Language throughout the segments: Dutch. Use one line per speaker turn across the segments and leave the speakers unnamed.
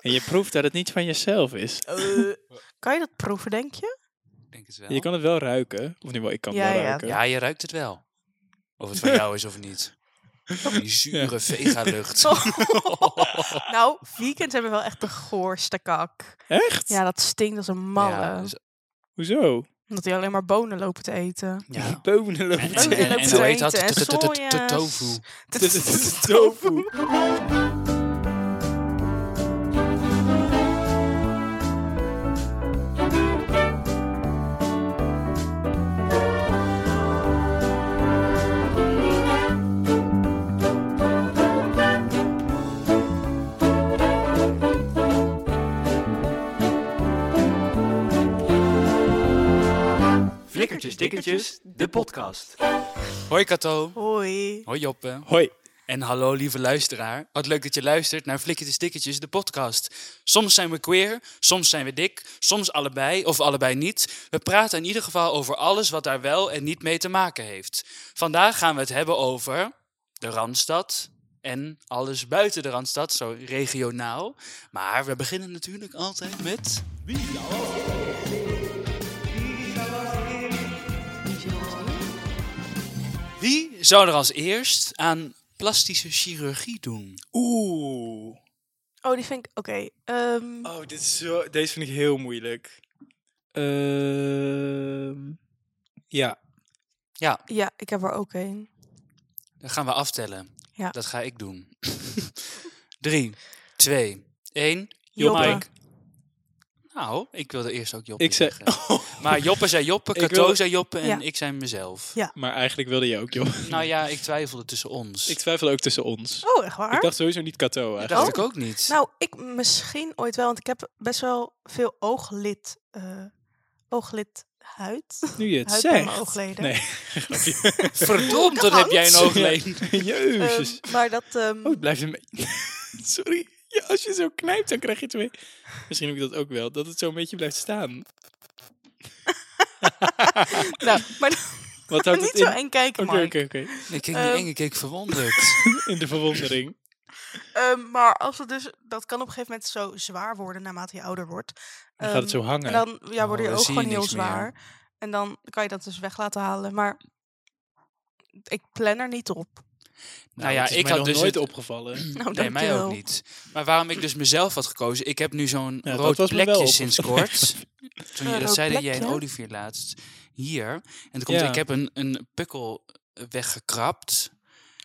En je proeft dat het niet van jezelf is.
Eh, kan je dat proeven, denk je?
Ik denk het wel.
Je kan het wel ruiken. Of niet, wel, ik kan het
Ja,
wel
ja.
ruiken.
Ja, je ruikt het wel. Of het van jou is of niet. Die zure vega-lucht.
Nou, vegans hebben wel echt de goorste kak.
Echt?
Ja, dat stinkt als een malle.
Ja, dus-
Hoezo?
Omdat die alleen maar bonen lopen te eten.
ja.
Bonen
En,
lopen
Bonen
en,
tegen.
en,
lopen
hoe
te
heet dat?
eten en
T- t- t- t-
soja's.
Tofu.
Dit is tofu.
Flikkertjes Dikkertjes, de podcast.
Hoi Kato.
Hoi.
Hoi Joppe.
Hoi.
En hallo lieve luisteraar. Wat leuk dat je luistert naar Flikkertjes Dikkertjes, de podcast. Soms zijn we queer, soms zijn we dik, soms allebei of allebei niet. We praten in ieder geval over alles wat daar wel en niet mee te maken heeft. Vandaag gaan we het hebben over de Randstad en alles buiten de Randstad, zo regionaal. Maar we beginnen natuurlijk altijd met... Wie zou er als eerst aan plastische chirurgie doen?
Oeh.
Oh, die vind ik... Oké. ehm,
Oh, dit is zo... Deze vind ik heel moeilijk. Ehm ja.
Ja,
ja, ik heb er ook één.
Dan gaan we aftellen.
Ja.
Dat ga ik doen. Drie, twee, één.
Joppe.
Mike. Nou, ik wilde eerst ook Joppe
Ik zei...
zeggen. Maar Joppe zei Joppe,
Ik
Kato
wilde-
zei Joppe en
Ja.
ik zei mezelf.
Ja.
Maar eigenlijk wilde je ook, joh.
Nou ja, ik twijfelde tussen ons.
Ik twijfel ook tussen ons.
Oh, echt waar?
Ik dacht sowieso niet Kato,
dat
eigenlijk.
dacht
Oh.
ik ook niet.
Nou, ik misschien ooit wel, want ik heb best wel veel ooglid, eh ooglid huid.
Nu je het
Huid bij mijn
zegt.
oogleden.
Nee.
Verdomd,
Dat
dan heb jij een
hangt.
oogleen.
Jezus.
Ehm, maar dat, ehm,
Oh, het blijft een beetje... Sorry. Ja, als je zo knijpt, dan krijg je het weer... Misschien heb ik dat ook wel. Dat het zo een beetje blijft staan.
nou, maar
Wat houdt het
niet
in?
zo
Oké,
eng kijken,
oké,
Mark.
oké.
Ik keek
Ehm.
niet eng, ik keek verwonderd.
In de verwondering.
Ehm, maar als het dus, dat kan op een gegeven moment zo zwaar worden naarmate je ouder wordt.
Dan gaat het zo
Ehm,
hangen. Nou,
En dan ja, worden
Oh,
je
dan
ogen
zie je
gewoon heel
niks meer.
zwaar. En dan kan je dat dus weg laten halen. Maar ik plan er niet op.
nou ja,
het is
ik
mij
had
nog
dus
nooit
het-
opgevallen. Oh,
Nou,
Nee, mij
dankjewel.
ook niet. Maar waarom ik dus mezelf had gekozen, ik heb nu zo'n
Ja, dat
rood
was me wel
plekje
op-
sinds kort. Toen
Een
je dat
rood
zei, dat jij een
plekje?
olivier laatst hier. En toen komt,
Ja.
ik heb een, een pukkel eh, weggekrapt.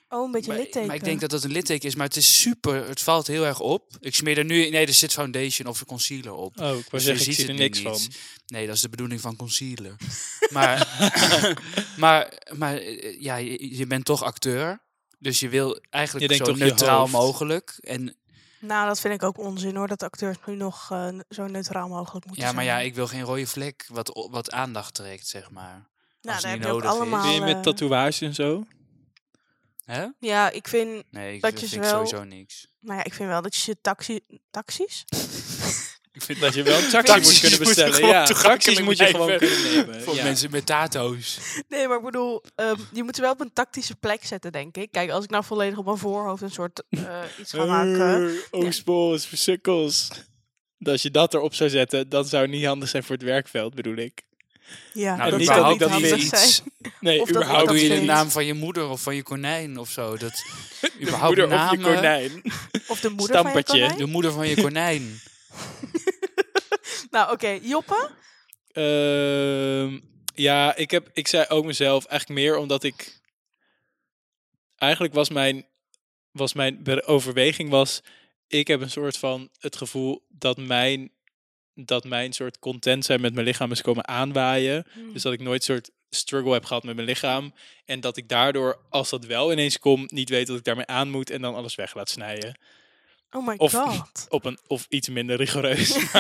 Oh, een beetje
Maar,
litteken.
maar ik denk dat dat een litteken is, maar het is super, het valt heel erg op. Ik smeer er nu, nee, er zit foundation of concealer op.
Oh, ik
Dus
was
je
zeggen, ik
ziet
zie er
het nu
niks van.
niet. Nee, dat is de bedoeling van concealer. maar, maar, maar eh, ja, je, je bent toch acteur. Dus je wil eigenlijk
Je denkt
zo
toch je
neutraal
hoofd.
mogelijk. En
Nou, dat vind ik ook onzin hoor. Dat de acteurs nu nog eh, zo neutraal mogelijk moeten
Ja, maar
zijn.
ja, ik wil geen rode vlek wat, o- wat aandacht trekt, zeg maar.
Nou,
als
daar
het
heb
niet
je ook
nodig is.
allemaal...
Ben je
eh,
met tatoeage en zo?
Hè?
Ja, ik vind,
Nee, ik
Dat
dat
je
vind
ze wel-
sowieso niks.
nou ja, ik vind wel dat je taxi, taxis...
Ik vind
Dat je wel een taxi
Taxis
moet kunnen
moeten
bestellen.
gewoon
ja,
toegankelijk
taxis moet je gewoon
blijven.
kunnen nemen.
voor
ja.
mensen met tato's.
Nee, maar ik bedoel, ehm, je moet ze wel op een tactische plek zetten, denk ik. Kijk, als ik nou volledig op mijn voorhoofd een soort eh, iets ga maken...
Eh, Oostpols, versukkels. Als je dat erop zou zetten, dan zou het niet handig zijn voor het werkveld, bedoel ik.
Ja,
en
Nou,
dat
dat
niet
zou niet
dat
handig
vind.
zijn.
Nee,
Of dat-
Hoe
überhaupt
doe je de
niet.
naam van je moeder of van je konijn of zo? Dat, überhaupt
moeder of je
namen,
konijn.
Of de moeder van je
Stampertje.
konijn.
De moeder van je konijn.
Nou, oké, Joppe.
Ehm, ja, ik, heb, ik zei ook mezelf eigenlijk meer omdat ik... Eigenlijk was mijn, was mijn be- overweging was... Ik heb een soort van het gevoel dat mijn, dat mijn soort content zijn met mijn lichaam is komen aanwaaien. Dus dat ik nooit soort struggle heb gehad met mijn lichaam. En dat ik daardoor, als dat wel ineens komt, niet weet dat ik daarmee aan moet. En dan alles weg laat snijden.
Oh my
of-
god.
Op een, of iets minder rigoureus.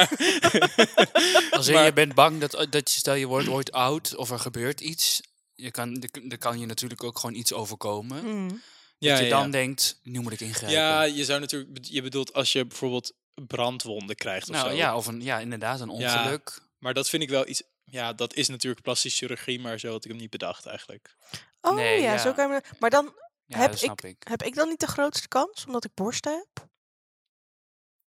Als in,
Maar-
je bent bang dat, eh, dat je, stel je wordt ooit oud of er gebeurt iets. Je kan, er- er kan je natuurlijk ook gewoon iets overkomen.
Mm.
dat je dan denkt, nu moet ik ingrijpen.
Ja, je zou natuurlijk, je bedoelt als je bijvoorbeeld brandwonden krijgt of
nou,
zo.
ja, of een, ja, inderdaad, een
Ja.
ongeluk.
Maar dat vind ik wel iets, ja, dat is natuurlijk plastische chirurgie, maar zo had ik hem niet bedacht eigenlijk.
Oh
Nee,
ja,
ja.
zo kan je... Maar dan
Ja,
Heb
dat snap ik.
heb ik dan niet de grootste kans, omdat ik borsten heb?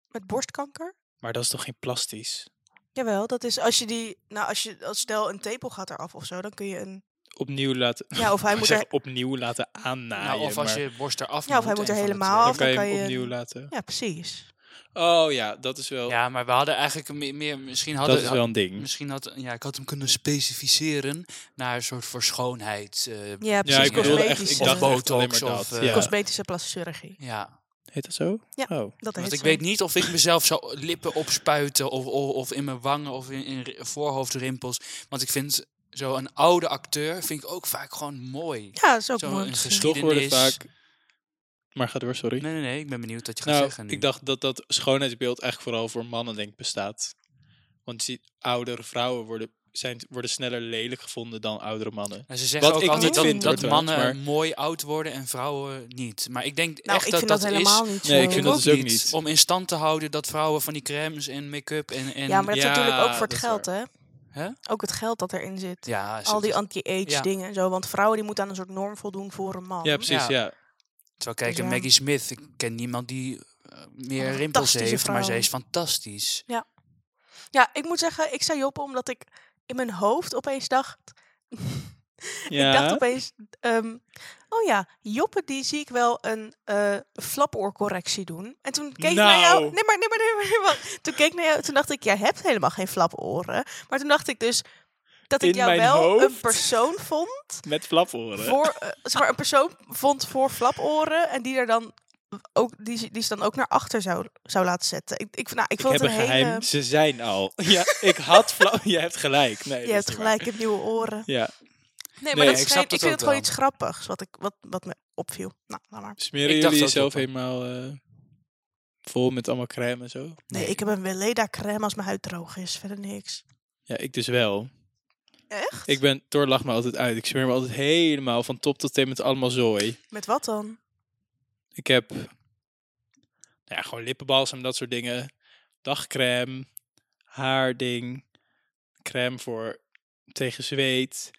met borstkanker?
Maar dat is toch geen plastisch?
Jawel, dat is als je die, nou als je, als stel een tepel gaat eraf of zo, dan kun je een,
Opnieuw laten,
ja of hij
Ik
moet
zeg
er,
opnieuw laten aannaaien.
nou, of als
maar
je borst eraf
Ja, of hij moet
een
er
van de
helemaal
dan
af.
twee.
kan je
kan
hem
je-
opnieuw laten.
ja precies.
Oh ja, dat is wel,
Ja, maar we hadden eigenlijk me- meer, misschien hadden...
dat is wel een ding.
Misschien had, ja, ik had hem kunnen specificeren naar een soort voor schoonheid. eh,
Ja,
Ja,
precies.
ik bedoelde echt,
cosmetische-
ik dacht echt alleen maar
Botox of,
dat.
eh,
ja.
Cosmetische plastische chirurgie.
ja,
Heet dat zo?
Ja.
Oh.
Dat
want
heet
ik
zo.
weet niet of ik mezelf zou lippen opspuiten of, of, of in mijn wangen of in, in ri- voorhoofdrimpels. Want ik vind zo'n oude acteur vind ik ook vaak gewoon mooi.
Ja, dat is ook
Zo'n
mooi. om te zien.
gezicht-
Toch worden
Geschiedenis.
vaak... Maar ga door, sorry.
Nee, nee, nee, ik ben benieuwd wat je gaat
nou,
zeggen nu.
ik dacht dat dat schoonheidsbeeld echt vooral voor mannen denk ik bestaat. Want je ziet, oudere vrouwen worden, zijn, worden sneller lelijk gevonden dan oudere mannen.
Nou, ze zeggen
Wat
ook
ik
altijd
niet
dat,
vind,
dat
hoor, trouwens,
mannen
maar-
mooi oud worden en vrouwen niet. Maar ik denk
Nou,
echt
ik
dat
vind
dat,
dat,
is...
helemaal niet zo.
Nee, ik vind dat
Ook
is ook niet.
Om in stand te houden dat vrouwen van die crèmes en make-up en... en
Ja, maar dat
Ja,
is natuurlijk ook voor
dat
het
is
geld, hè?
Hè?
Ook het geld dat erin zit.
ja,
Al die anti-age
Ja.
dingen en zo. Want vrouwen die moeten aan een soort norm voldoen voor een man.
Ja, precies,
Ja.
ja.
Terwijl kijk,
Dus
een
ja.
Maggie Smith, ik ken niemand die eh, meer
Een
rimpels
fantastische
heeft, maar
vrouw.
zij is fantastisch.
Ja, ik moet zeggen, ik zei Job omdat ik in mijn hoofd opeens dacht...
ja.
Ik dacht opeens... ehm, oh ja, Joppe die zie ik wel een eh flapoorcorrectie doen. En toen keek ik naar jou...
Nou.
Nee maar, nee, maar, nee, maar, nee, maar. Toen keek ik naar jou, toen dacht ik, jij hebt helemaal geen flapooren. Maar toen dacht ik dus dat ik
In
jou
mijn
wel een
hoofd?
persoon vond...
Met flaporen.
voor, eh, zeg maar, een persoon vond voor flaporen en die er dan ook die, ze- die ze dan ook naar achter zou, zou laten zetten. Ik, ik, nou, ik
ik
vond
heb
het
een
een
geheim.
hele.
Ze zijn al. Ja, ik had flap. Je hebt gelijk. Nee, dat
Je
is
hebt
niet
gelijk, ik heb nieuwe oren.
waar. Ja.
Nee, maar
Nee,
dat
ik
is
snap
geen, ik
dat
vind
ook
het gewoon
wel.
iets grappigs wat, ik, wat, wat me opviel. Nou, laat maar.
Smeren
Ik dacht
jullie
ook
jezelf
dat-
helemaal eh, vol met allemaal crème en zo?
Nee,
Nee.
ik heb een Weleda crème als mijn huid droog is. Verder niks.
Ja, ik dus wel.
Echt?
Ik ben, Thor lacht me altijd uit. Ik smeer me altijd helemaal van top tot teen met allemaal zooi.
Met wat dan?
Ik heb nou ja, gewoon lippenbalsem, dat soort dingen. Dagcrème, haarding, crème voor tegen zweet,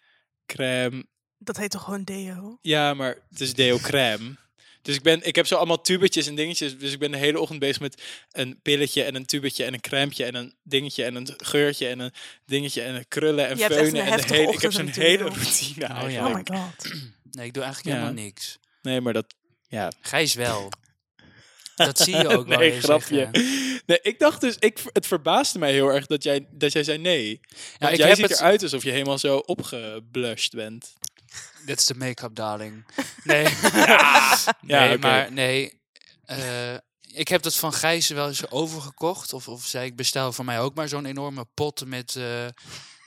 crème.
Dat heet toch gewoon deo?
Ja, maar het is deo crème. Dus ik, ben, ik heb zo allemaal tubetjes en dingetjes. Dus ik ben de hele ochtend bezig met een pilletje en een tubetje en een crèmetje en een dingetje en een geurtje en een dingetje en een krullen en
Je hebt echt
feunen.
een
En de
heftige
hele, ik heb zo'n
ochtend
hele
natuurlijk.
routine
ja.
eigenlijk.
Oh my god.
Nee, ik doe eigenlijk
Ja.
helemaal niks.
Nee, maar dat... Ja,
Gijs wel. dat zie je ook wel.
nee,
je
grapje.
zeggen.
Nee, ik dacht dus, ik, het verbaasde mij heel erg dat jij, dat jij zei nee.
Ja,
Want
ik
jij
heb
ziet
het-
eruit alsof je helemaal zo opgeblushed bent.
Dit is de make-up, darling. Nee,
Ja,
nee
oké.
maar nee. eh, ik heb dat van Gijs wel eens overgekocht. Of, of zei ik, bestel voor mij ook maar zo'n enorme pot met... eh,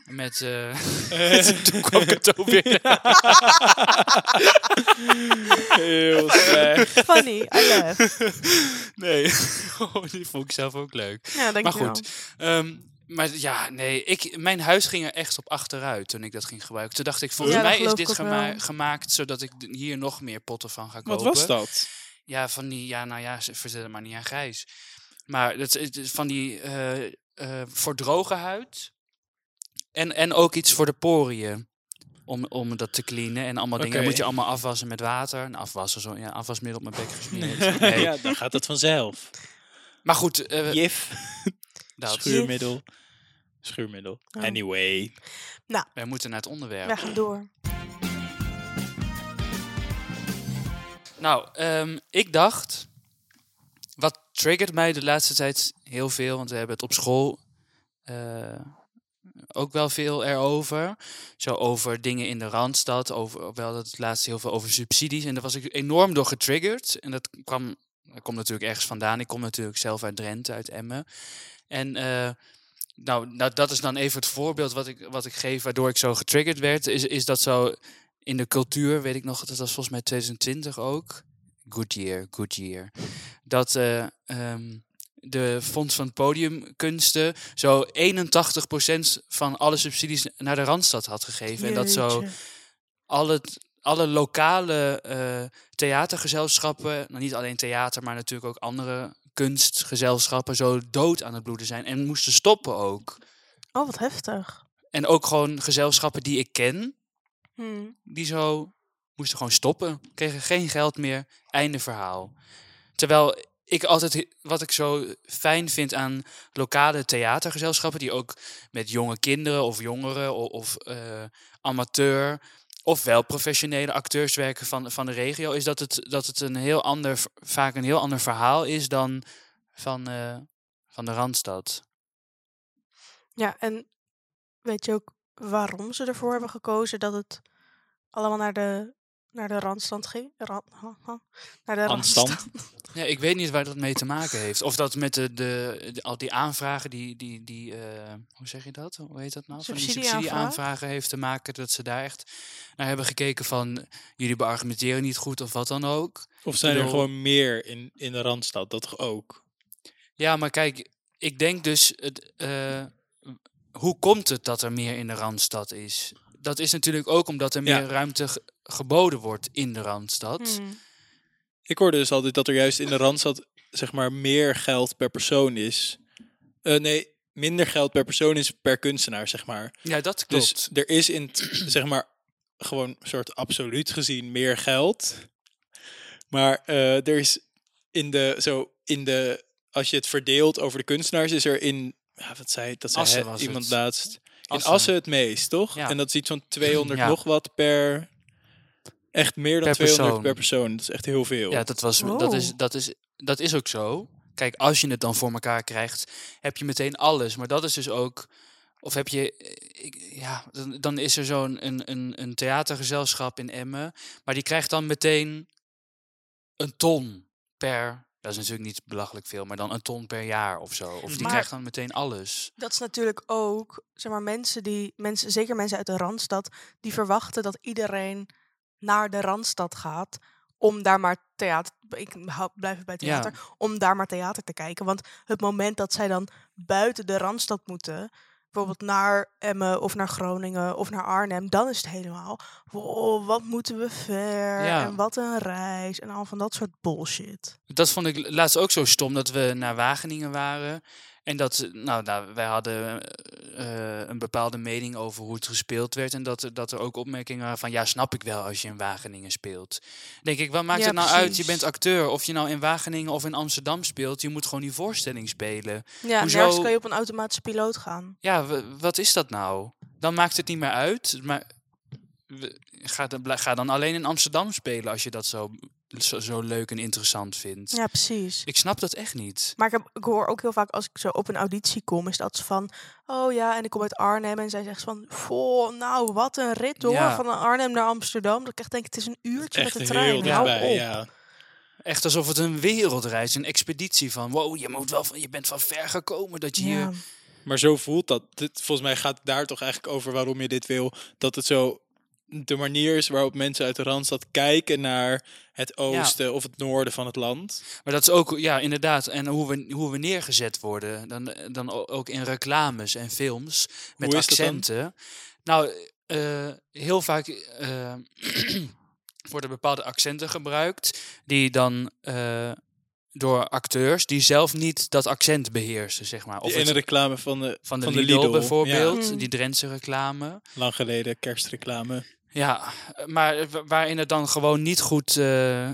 met eh, toen kwam ik het ook weer.
Heel slecht.
Funny, I love.
Nee, Oh, die vond ik zelf ook leuk.
Ja, denk
Maar
je wel.
goed. Ehm, maar ja, nee, ik, mijn huis ging er echt op achteruit toen ik dat ging gebruiken. Toen dacht ik, volgens
Ja, dat
mij is
geloof ik
dit
ook
gema-
wel.
gemaakt zodat ik d- hier nog meer potten van ga
Wat
kopen.
was dat?
Ja, van die, ja, nou ja, ze- verzet het maar niet aan Gijs. Maar dat is- het is van die eh, eh, voor droge huid en, en ook iets voor de poriën. Om, om dat te cleanen en allemaal dingen.
Oké.
Dat moet je allemaal afwassen met water. En afwassen, zo, ja, afwasmiddel op mijn bek gesmeerd. Nee.
Ja, dan gaat dat vanzelf.
Maar goed, eh,
Jif,
dat,
schuurmiddel. Schuurmiddel.
Oh.
Anyway.
wij moeten naar het onderwerp.
We gaan door.
Nou, ehm, ik dacht. Wat triggert mij de laatste tijd heel veel, want we hebben het op school eh, ook wel veel erover. Zo over dingen in de randstad, over wel dat het laatste heel veel over subsidies. En daar was ik enorm door getriggerd. En dat kwam, dat komt natuurlijk ergens vandaan. Ik kom natuurlijk zelf uit Drenthe, uit Emmen. En eh, nou, nou, dat is dan even het voorbeeld wat ik, wat ik geef, waardoor ik zo getriggerd werd. Is, is dat zo in de cultuur, weet ik nog, dat was volgens mij 2020 ook. Good year, good year. Dat eh, ehm, de Fonds van Podiumkunsten zo 81% van alle subsidies naar de Randstad had gegeven. En dat zo
Jeetje.
alle, alle lokale eh, theatergezelschappen, nou niet alleen theater, maar natuurlijk ook andere kunstgezelschappen, zo dood aan het bloeden zijn. En moesten stoppen ook.
Oh, wat heftig.
En ook gewoon gezelschappen die ik ken,
Hmm.
die zo moesten gewoon stoppen. Kregen geen geld meer. Einde verhaal. Terwijl ik altijd, wat ik zo fijn vind aan lokale theatergezelschappen, die ook met jonge kinderen of jongeren of, of eh, amateur of wel professionele acteurs werken van, van de regio, is dat het, dat het een heel ander, vaak een heel ander verhaal is dan van, eh, van de Randstad.
Ja, en weet je ook waarom ze ervoor hebben gekozen dat het allemaal naar de, naar de randstand ging? Ran- ha- ha. naar de
Randstand?
Ja, ik weet niet waar dat mee te maken heeft. Of dat met de, de, de- al die aanvragen, die, die, die eh, hoe zeg je dat? Hoe heet dat nou? Van die
Subsidieaanvraag?
subsidieaanvragen heeft te maken dat ze daar echt naar hebben gekeken van jullie beargumenteren niet goed of wat dan ook.
Of zijn er
bedoel-
gewoon meer in, in de Randstad? Dat toch ook?
Ja, maar kijk, ik denk dus, het, eh, hoe komt het dat er meer in de Randstad is? Dat is natuurlijk ook omdat er
Ja.
meer ruimte ge- geboden wordt in de Randstad.
Hmm.
Ik hoorde dus altijd dat er juist in de Randstad zeg maar meer geld per persoon is. Eh, nee, minder geld per persoon is per kunstenaar, zeg maar.
Ja, dat klopt.
Dus er is in, t- zeg maar, gewoon soort absoluut gezien meer geld. Maar eh, er is in de, zo in de, als je het verdeelt over de kunstenaars, is er in, ja, wat zei, dat zei
Assen
hè-
was
iemand
het.
laatst. In
Assen.
Assen het meest, toch?
Ja.
En dat is iets van 200
Ja.
nog wat per, echt meer dan 200
Per persoon.
per persoon. Dat is echt heel veel.
Ja, dat, was, dat, is,
Wow.
dat, is, dat is ook zo. Kijk, als je het dan voor elkaar krijgt, heb je meteen alles. Maar dat is dus ook. Of heb je. eh, ik- Ja, dan, dan is er zo'n een, een, een theatergezelschap in Emmen. Maar die krijgt dan meteen een ton per. Dat is natuurlijk niet belachelijk veel, maar dan een ton per jaar of zo. Of die
Maar-
krijgt dan meteen alles.
Dat is natuurlijk ook, zeg maar, mensen die, mensen, zeker mensen uit de Randstad, die verwachten dat iedereen naar de Randstad gaat om daar maar theater, ik hou- blijf bij theater, om daar maar theater te kijken. Want het moment dat zij dan buiten de Randstad moeten, bijvoorbeeld naar Emmen of naar Groningen of naar Arnhem, dan is het helemaal, wow, wat moeten we ver
Ja.
en wat een reis en al van dat soort bullshit.
Dat vond ik laatst ook zo stom dat we naar Wageningen waren. En dat, nou, nou, wij hadden eh, een bepaalde mening over hoe het gespeeld werd. En dat, er- dat er ook opmerkingen waren van, ja, snap ik wel als je in Wageningen speelt. denk ik, wat maakt
Ja,
het nou uit? Je
precies.
bent acteur. Of je nou in Wageningen of in Amsterdam speelt, je moet gewoon die voorstelling spelen.
Ja,
Hoezo-
nergens kan je op een automatische piloot gaan.
Ja, w- wat is dat nou? Dan maakt het niet meer uit. Maar we- ga, dan- bla- ga dan alleen in Amsterdam spelen als je dat zo, zo, zo leuk en interessant vindt.
Ja, precies.
Ik snap dat echt niet.
Maar ik, heb, ik hoor ook heel vaak als ik zo op een auditie kom, is dat ze van, oh ja, en ik kom uit Arnhem. En zij zegt van, "Goh, nou, wat een rit hoor,
Ja.
van Arnhem naar Amsterdam. Dat ik echt denk, het is een uurtje
echt
met de
heel
trein. Hou
dichtbij.
op.
Ja.
Echt alsof het een wereldreis, een expeditie van wow, je, moet wel van, je bent van ver gekomen dat je
Ja.
hier...
Maar zo voelt dat. Dit, volgens mij gaat het daar toch eigenlijk over waarom je dit wil. Dat het zo de manier is waarop mensen uit de Randstad kijken naar het oosten of het noorden van het land.
Maar dat is ook, ja inderdaad, en hoe we, hoe we neergezet worden, dan, dan o- ook in reclames en films, met
Hoe is dat dan?
accenten. Nou, eh, heel vaak eh, worden bepaalde accenten gebruikt, die dan eh, door acteurs die zelf niet dat accent beheersen, zeg maar. Of
Die ene
het-
reclame van de,
van de,
van de
Lidl,
Lidl, Hmm.
bijvoorbeeld,
ja.
die Drentse reclame.
lang geleden kerstreclame.
Ja, maar wa- waarin het dan gewoon niet goed eh, eh,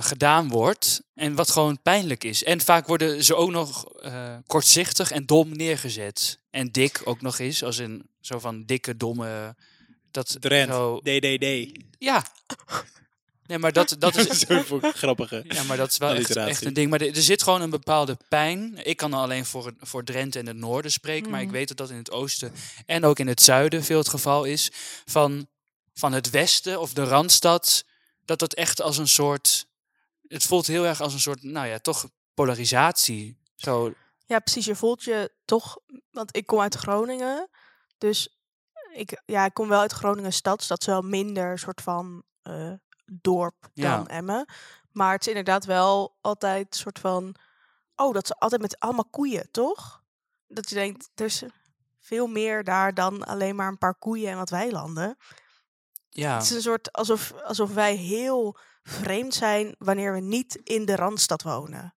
gedaan wordt. En wat gewoon pijnlijk is. En vaak worden ze ook nog eh, kortzichtig en dom neergezet. En dik ook nog eens. Als in zo van dikke, domme. Dat
Drent,
Zo,
DDD.
ja. Nee, maar dat, dat is.
Zo voor grappige.
Ja, maar dat is wel echt,
Alliteratie.
echt een ding. Maar er er zit gewoon een bepaalde pijn. Ik kan alleen voor, het- voor Drenthe en het noorden spreken. Maar
Mhm.
ik weet dat dat in het oosten en ook in het zuiden veel het geval is. Van, van het westen of de Randstad. Dat dat echt als een soort... Het voelt heel erg als een soort, nou ja, toch polarisatie. Zo,
ja, precies. Je voelt je toch, want ik kom uit Groningen. Dus ik, ja, ik kom wel uit Groningen stad. Dus dat is wel minder soort van eh, dorp
Ja.
dan Emmen. Maar het is inderdaad wel altijd soort van, oh, dat ze altijd met allemaal koeien, toch? Dat je denkt, er is veel meer daar dan alleen maar een paar koeien en wat weilanden.
ja.
Het is een soort alsof, alsof wij heel vreemd zijn wanneer we niet in de Randstad wonen.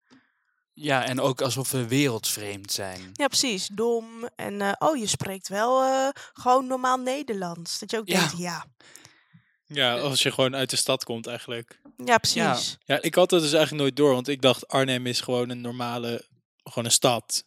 ja, en ook alsof we wereldvreemd zijn.
Ja, precies. Dom. En eh, oh, je spreekt wel eh, gewoon normaal Nederlands. Dat je ook
Ja.
denkt, ja.
Ja, als je gewoon uit de stad komt eigenlijk.
Ja, precies.
Ja, ik had dat dus eigenlijk nooit door, want ik dacht Arnhem is gewoon een normale, gewoon een stad.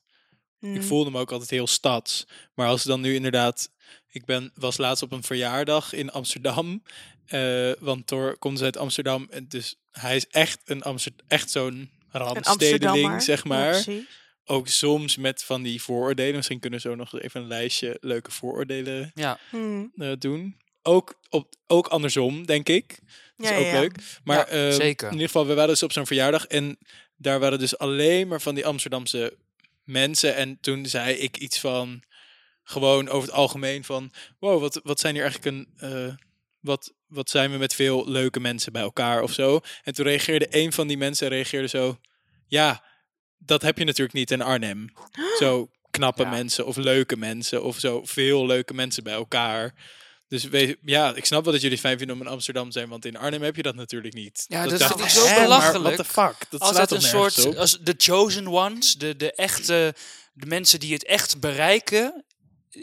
Mm.
Ik voelde me ook altijd heel stads. Maar als ik dan nu inderdaad... Ik ben, was laatst op een verjaardag in Amsterdam. eh, want Thor komt uit Amsterdam. en Dus hij is echt, een Amster, echt zo'n
Een
randstedeling, zeg
Ja,
maar.
precies.
ook soms met van die vooroordelen. Misschien kunnen we zo nog even een lijstje leuke vooroordelen
Ja,
Mm.
eh, doen. Ook, op, ook andersom, denk ik. Dat
Ja,
is ook
ja, ja.
leuk. Maar
Ja,
eh,
zeker.
in ieder geval, we waren dus op zo'n verjaardag. En daar waren dus alleen maar van die Amsterdamse mensen. En toen zei ik iets van... Gewoon over het algemeen van... Wow, wat, wat zijn hier eigenlijk een... eh, wat, wat zijn we met veel leuke mensen bij elkaar of zo. En toen reageerde een van die mensen reageerde zo... Ja, dat heb je natuurlijk niet in Arnhem. Zo knappe
Ja.
mensen of leuke mensen of zo veel leuke mensen bij elkaar. Dus we- ja, ik snap wel dat jullie het fijn vinden om in Amsterdam te zijn, want in Arnhem heb je dat natuurlijk niet.
Ja, dat
dacht
vind
ik
ik,
zo
hè, maar
belachelijk.
What the fuck? Dat slaat
altijd
toch
een
nergens
soort eh,
op?
als de chosen ones, de, de echte de mensen die het echt bereiken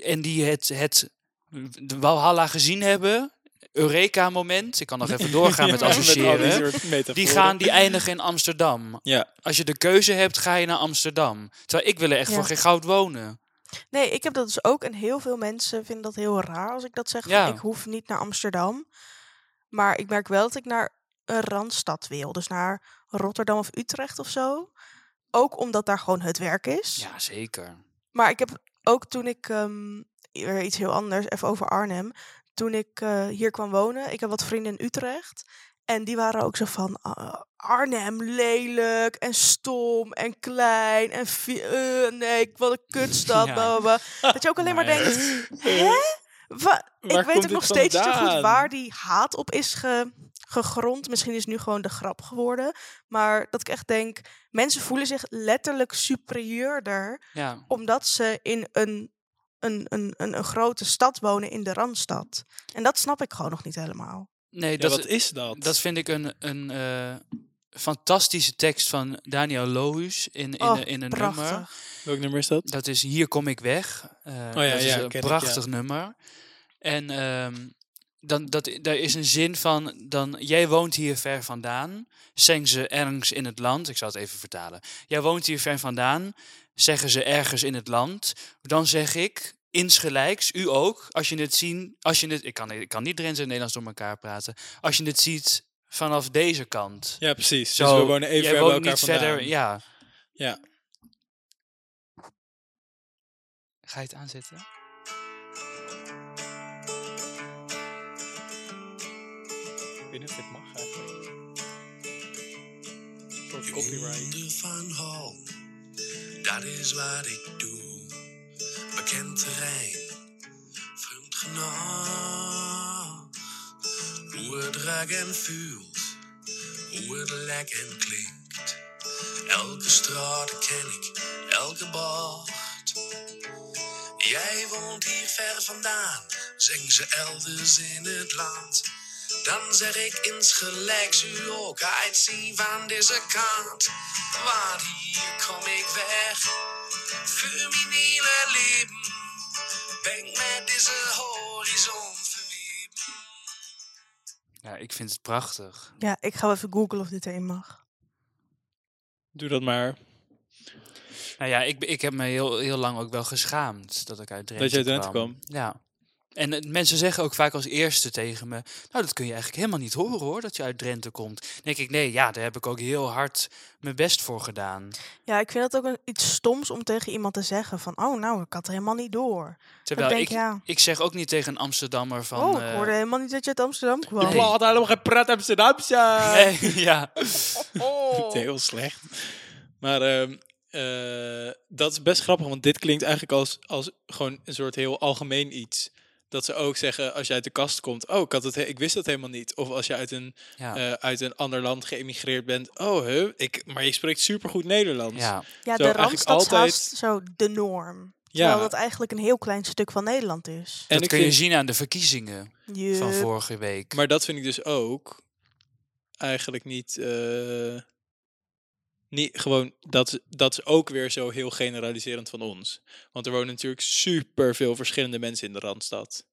en die het, het de Walhalla gezien hebben. Eureka-moment. Ik kan nog even doorgaan met
Ja, al die
associëren.
soort metaforen.
Die gaan die eindigen in Amsterdam.
Ja,
Als je de keuze hebt, ga je naar Amsterdam. Terwijl ik wil er echt
Ja.
voor geen goud wonen.
Nee, ik heb dat dus ook. En heel veel mensen vinden dat heel raar als ik dat zeg. van,
Ja.
ik hoef niet naar Amsterdam. Maar ik merk wel dat ik naar een randstad wil. Dus naar Rotterdam of Utrecht of zo. Ook omdat daar gewoon het werk is.
Ja, zeker.
Maar ik heb ook toen ik, ehm, weer iets heel anders, even over Arnhem. Toen ik eh, hier kwam wonen, ik heb wat vrienden in Utrecht. En die waren ook zo van, "Ah, Arnhem lelijk en stom en klein en vi- eh, nee, wat een kutstad.
Ja.
bla, bla, bla." Dat je ook alleen maar
Nee.
denkt, hè? Wa-
Waar
ik
komt
weet ook
dit
nog steeds niet zo goed
vandaan?
waar die haat op is ge- gegrond. Misschien is het nu gewoon de grap geworden. Maar dat ik echt denk, mensen voelen zich letterlijk superieurder
Ja.
omdat ze in een, een, een, een, een grote stad wonen in de Randstad. En dat snap ik gewoon nog niet helemaal.
Nee,
Ja,
dat,
wat is dat?
Dat vind ik een, een eh, fantastische tekst van Daniel Lohuus in, in,
Oh,
een- in een nummer.
Prachtig.
Welk nummer is dat?
Dat is Hier kom ik weg. Eh,
Oh ja,
dat is
ja,
een
ken ik,
prachtig nummer. En ehm, dan, dat, daar is een zin van, dan, jij woont hier ver vandaan, zeggen ze ergens in het land, ik zal het even vertalen. Jij woont hier ver vandaan, zeggen ze ergens in het land. Dan zeg ik, insgelijks, u ook, als je het zien, als je het, ik kan, ik kan niet Drents en Nederlands door elkaar praten, als je het ziet vanaf deze kant.
Ja, precies. dus we wonen even
jij
ver bij
woont
elkaar
niet
vandaan.
verder, ja.
Ja.
Ga je het aanzetten?
Ik weet niet of dit mag eigenlijk. Voor copyright.
Vrienden van Hal, dat is wat ik doe. Bekend terrein, vreemd genoeg. Hoe het raak en vuurt, hoe het lek en klinkt. Elke straat ken ik, elke bocht. Jij woont hier ver vandaan, zeggen ze elders in het land. Dan zeg ik insgelijks u ook uitzien van deze kant. Want hier kom ik weg voor mijn hele leven. Ben ik met deze horizon verweven.
Ja, ik vind het prachtig.
Ja, ik ga wel even googlen of dit erin mag.
Doe dat maar.
Nou ja, ik, ik heb me heel, heel lang ook wel geschaamd dat ik uit Drenthe
Dat je uit Drenthe
Ja. En het- mensen zeggen ook vaak als eerste tegen me... Nou, dat kun je eigenlijk helemaal niet horen hoor, dat je uit Drenthe komt. Dan denk ik, nee, ja, daar heb ik ook heel hard mijn best voor gedaan.
Ja, ik vind dat ook een, iets stoms om tegen iemand te zeggen van, oh nou, ik had er helemaal niet door.
Terwijl
denk,
ik,
ja.
ik zeg ook niet tegen een Amsterdammer van...
oh, ik
eh,
hoorde helemaal niet dat je uit Amsterdam kwam.
Nee.
had helemaal geen pret Amsterdamse.
nee, ja.
Het is heel slecht. Maar ehm, eh, dat is best grappig, want dit klinkt eigenlijk als, als gewoon een soort heel algemeen iets. Dat ze ook zeggen, als je uit de kast komt, oh, ik, had het, he- ik wist dat helemaal niet. Of als je uit een,
Ja.
eh, uit een ander land geëmigreerd bent, oh, huh, ik, maar je spreekt supergoed Nederlands.
ja.
Ja,
Zo,
de
eigenlijk
Randstad is
altijd-
haast zo de norm.
ja.
Terwijl dat eigenlijk een heel klein stuk van Nederland is.
en
dat
ik
kun
vind,
je zien aan de verkiezingen van
Jup.
vorige week.
Maar dat vind ik dus ook eigenlijk niet... eh, niet gewoon, dat, dat is ook weer zo heel generaliserend van ons. Want er wonen natuurlijk super veel verschillende mensen in de Randstad.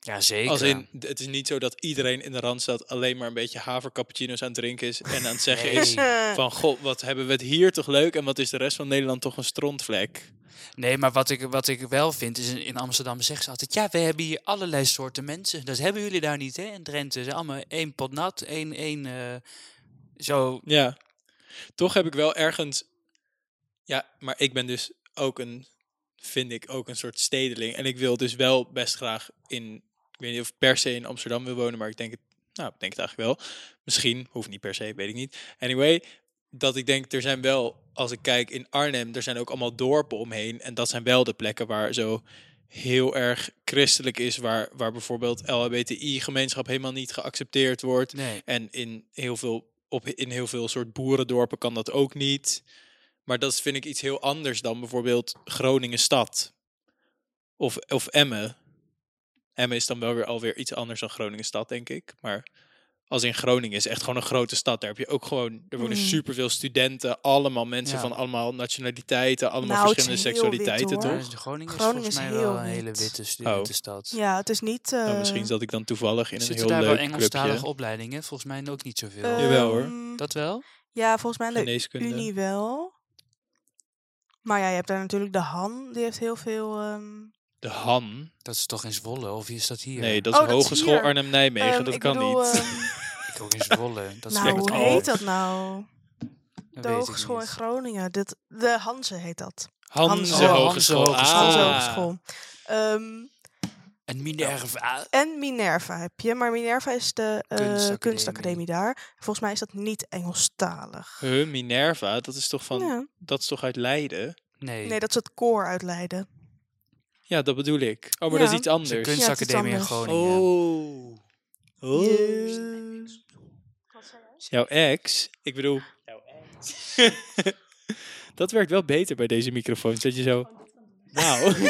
Ja, zeker.
Als in, d- het is niet zo dat iedereen in de Randstad alleen maar een beetje havercappuccino's aan het drinken is en aan het zeggen
Nee.
is van, god, wat hebben we het hier toch leuk en wat is de rest van Nederland toch een strontvlek.
Nee, maar wat ik, wat ik wel vind is in in Amsterdam zeggen ze altijd: ja, we hebben hier allerlei soorten mensen. Dat hebben jullie daar niet, hè? In Drenthe ze zijn allemaal één pot nat, één, één eh, zo.
Ja. Toch heb ik wel ergens. Ja, maar ik ben dus ook een. Vind ik ook een soort stedeling. En ik wil dus wel best graag in. Ik weet niet of ik per se in Amsterdam wil wonen, maar ik denk het. Nou, ik denk het eigenlijk wel. Misschien, hoeft niet per se, weet ik niet. Anyway, dat ik denk, er zijn wel, als ik kijk in Arnhem, er zijn ook allemaal dorpen omheen. En dat zijn wel de plekken waar zo heel erg christelijk is, waar, waar bijvoorbeeld LHBTI-gemeenschap helemaal niet geaccepteerd wordt.
Nee.
En in heel veel, op, in heel veel soort boerendorpen kan dat ook niet. Maar dat vind ik iets heel anders dan bijvoorbeeld Groningen stad. Of, of Emmen. Emmen is dan wel weer alweer iets anders dan Groningen stad, denk ik. Maar als in Groningen is echt gewoon een grote stad. Daar heb je ook gewoon, er wonen
Mm.
superveel studenten. Allemaal mensen
Ja.
van allemaal nationaliteiten, allemaal
Nou, het is
verschillende
heel wit,
seksualiteiten,
hoor.
toch?
Maar Groningen is
Groningen
volgens
is
mij
heel
wel een hele
wit.
witte, stu-
Oh.
witte stad.
Ja, het is niet...
Nou,
eh,
misschien zat ik dan toevallig in een
Zitten
heel
daar wel
leuk clubje.
Engelstalige opleidingen? Volgens mij ook niet zoveel.
ehm,
Jawel, hoor.
Dat wel?
Ja, volgens mij aan de
Geneeskunde.
Unie wel. Maar ja, je hebt daar natuurlijk de Han, die heeft heel veel... ehm,
De Han?
Dat is toch in Zwolle? Of is dat hier?
Nee, dat is
Oh, dat is
Hogeschool
hier.
Arnhem-Nijmegen.
ehm,
dat
ik
kan
bedoel,
niet.
ehm,
Ik ook in Zwolle. Dat
nou,
het
hoe
al.
heet dat nou?
dat
De Hogeschool in Groningen. Dit, de Hanze heet dat.
Hanze
Hanze
Hogeschool.
Hogeschool.
Hanze
Ah.
Hogeschool. Ehm,
En Minerva.
en Minerva heb je. Maar Minerva is de eh,
Kunstacademie.
kunstacademie daar. Volgens mij is dat niet Engelstalig.
Huh, Minerva, dat is toch van,
Ja.
dat is toch uit Leiden?
Nee,
Nee, dat is het koor uit Leiden.
Ja, dat bedoel ik. Oh, maar
Ja.
dat is iets
dat is een
anders.
kunstacademie in
anders.
Groningen.
Oh. oh. Jouw ex? Ik bedoel... dat werkt wel beter bij deze microfoons, dat je zo... Nou,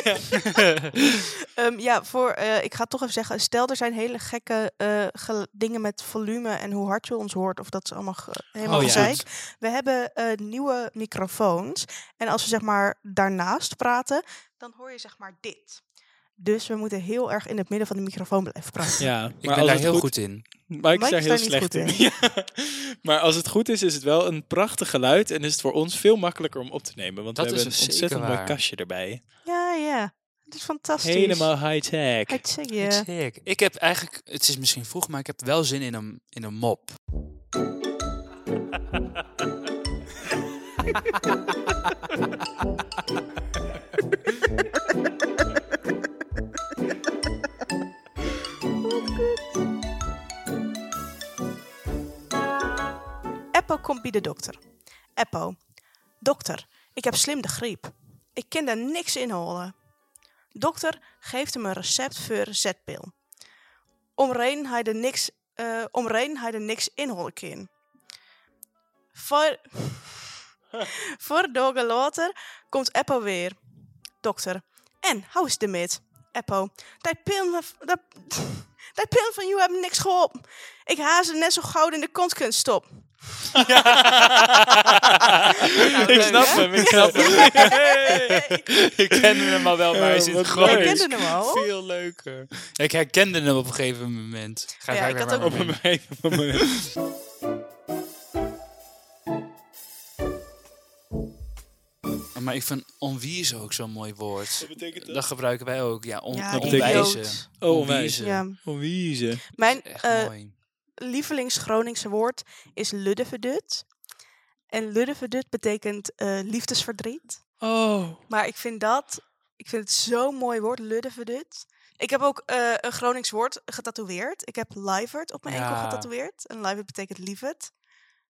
Ehm, ja, voor, eh, ik ga het toch even zeggen. Stel, er zijn hele gekke eh, ge- dingen met volume en hoe hard je ons hoort. Of dat is allemaal ge- helemaal
Oh, ja.
gezeik. We hebben eh, nieuwe microfoons. En als we zeg maar daarnaast praten, dan hoor je zeg maar dit. Dus we moeten heel erg in het midden van de microfoon blijven praten.
ja,
Ik
maar
ben
als
daar
het
heel
goed,
goed in.
Mike is daar heel
niet
slecht
goed
in.
in.
Ja. Maar als het goed is, is het wel een prachtig geluid en is het voor ons veel makkelijker om op te nemen. Want
Dat
we
is
hebben een
zeker
ontzettend mooi
waar.
kastje erbij.
Ja, ja. Het is fantastisch.
Helemaal high-tech.
Ik zeg
Ik
je.
zeg, Ik heb eigenlijk, het is misschien vroeg, maar ik heb wel zin in een, in een mop.
Eppo komt bij de dokter. Eppo. Dokter, ik heb slim de griep. Ik kan daar niks in holen. Dokter geeft hem een recept voor een zetpil. Omreden hij er niks, eh omreden hij er niks in holen kan. Voor, voor dagen later komt Eppo weer. Dokter, en, hoe is het ermee? Eppo, die pil, van- dat, die pil van jou hebben niks geholpen. Ik haal ze net zo gauw in de kont kunnen stoppen.
Nou,
ik snap
hè?
hem, ik snap hem.
ik kende hem al wel, maar hij
Ja,
zit
wat
gewoon
leuk.
Ik kende hem al.
Veel leuker. Ik herkende hem op een gegeven moment. Ga
Ja,
ga
ik had
maar
ook-
Op
mee.
een gegeven moment.
Maar ik vind onwiezen ook zo'n mooi woord.
betekent
Dat gebruiken wij ook. Ja, on,
Ja,
dat
idioot.
onwijzen.
Oh,
Onwijzen.
Ja.
Onwiezen.
Mijn
Echt
eh,
mooi.
lievelings-Groningse woord is luddeverdut. En luddeverdut betekent eh, liefdesverdriet.
Oh.
Maar ik vind dat, ik vind het zo'n mooi woord, luddeverdut. Ik heb ook eh, een Gronings woord getatoeëerd. Ik heb livert op mijn enkel
Ja.
getatoeëerd. En livert betekent lieverd.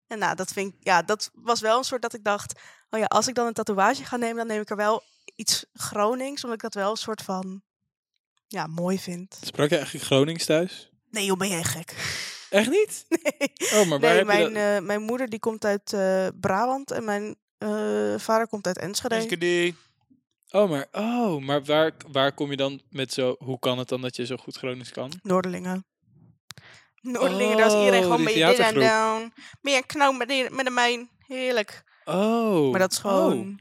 En nou, dat vind ik, ja, dat was wel een soort dat ik dacht, oh ja, als ik dan een tatoeage ga nemen, dan neem ik er wel iets Gronings, omdat ik dat wel een soort van, ja, mooi vind.
Sprak je eigenlijk Gronings thuis?
Nee, joh, ben jij gek?
Echt niet? Oh, maar waar
nee,
heb
mijn,
je dat?
eh, mijn moeder die komt uit eh, Brabant en mijn eh, vader komt uit Enschede.
Enschede.
Oh, maar, oh, maar waar, waar kom je dan met zo... Hoe kan het dan dat je zo goed Gronings kan?
Noorderlingen. Noorderlingen, daar is
Oh,
iedereen gewoon
die
met je dit en
theatergroep.
down. Meer knauw met, die- met de mijn. Heerlijk.
Oh.
Maar dat is gewoon...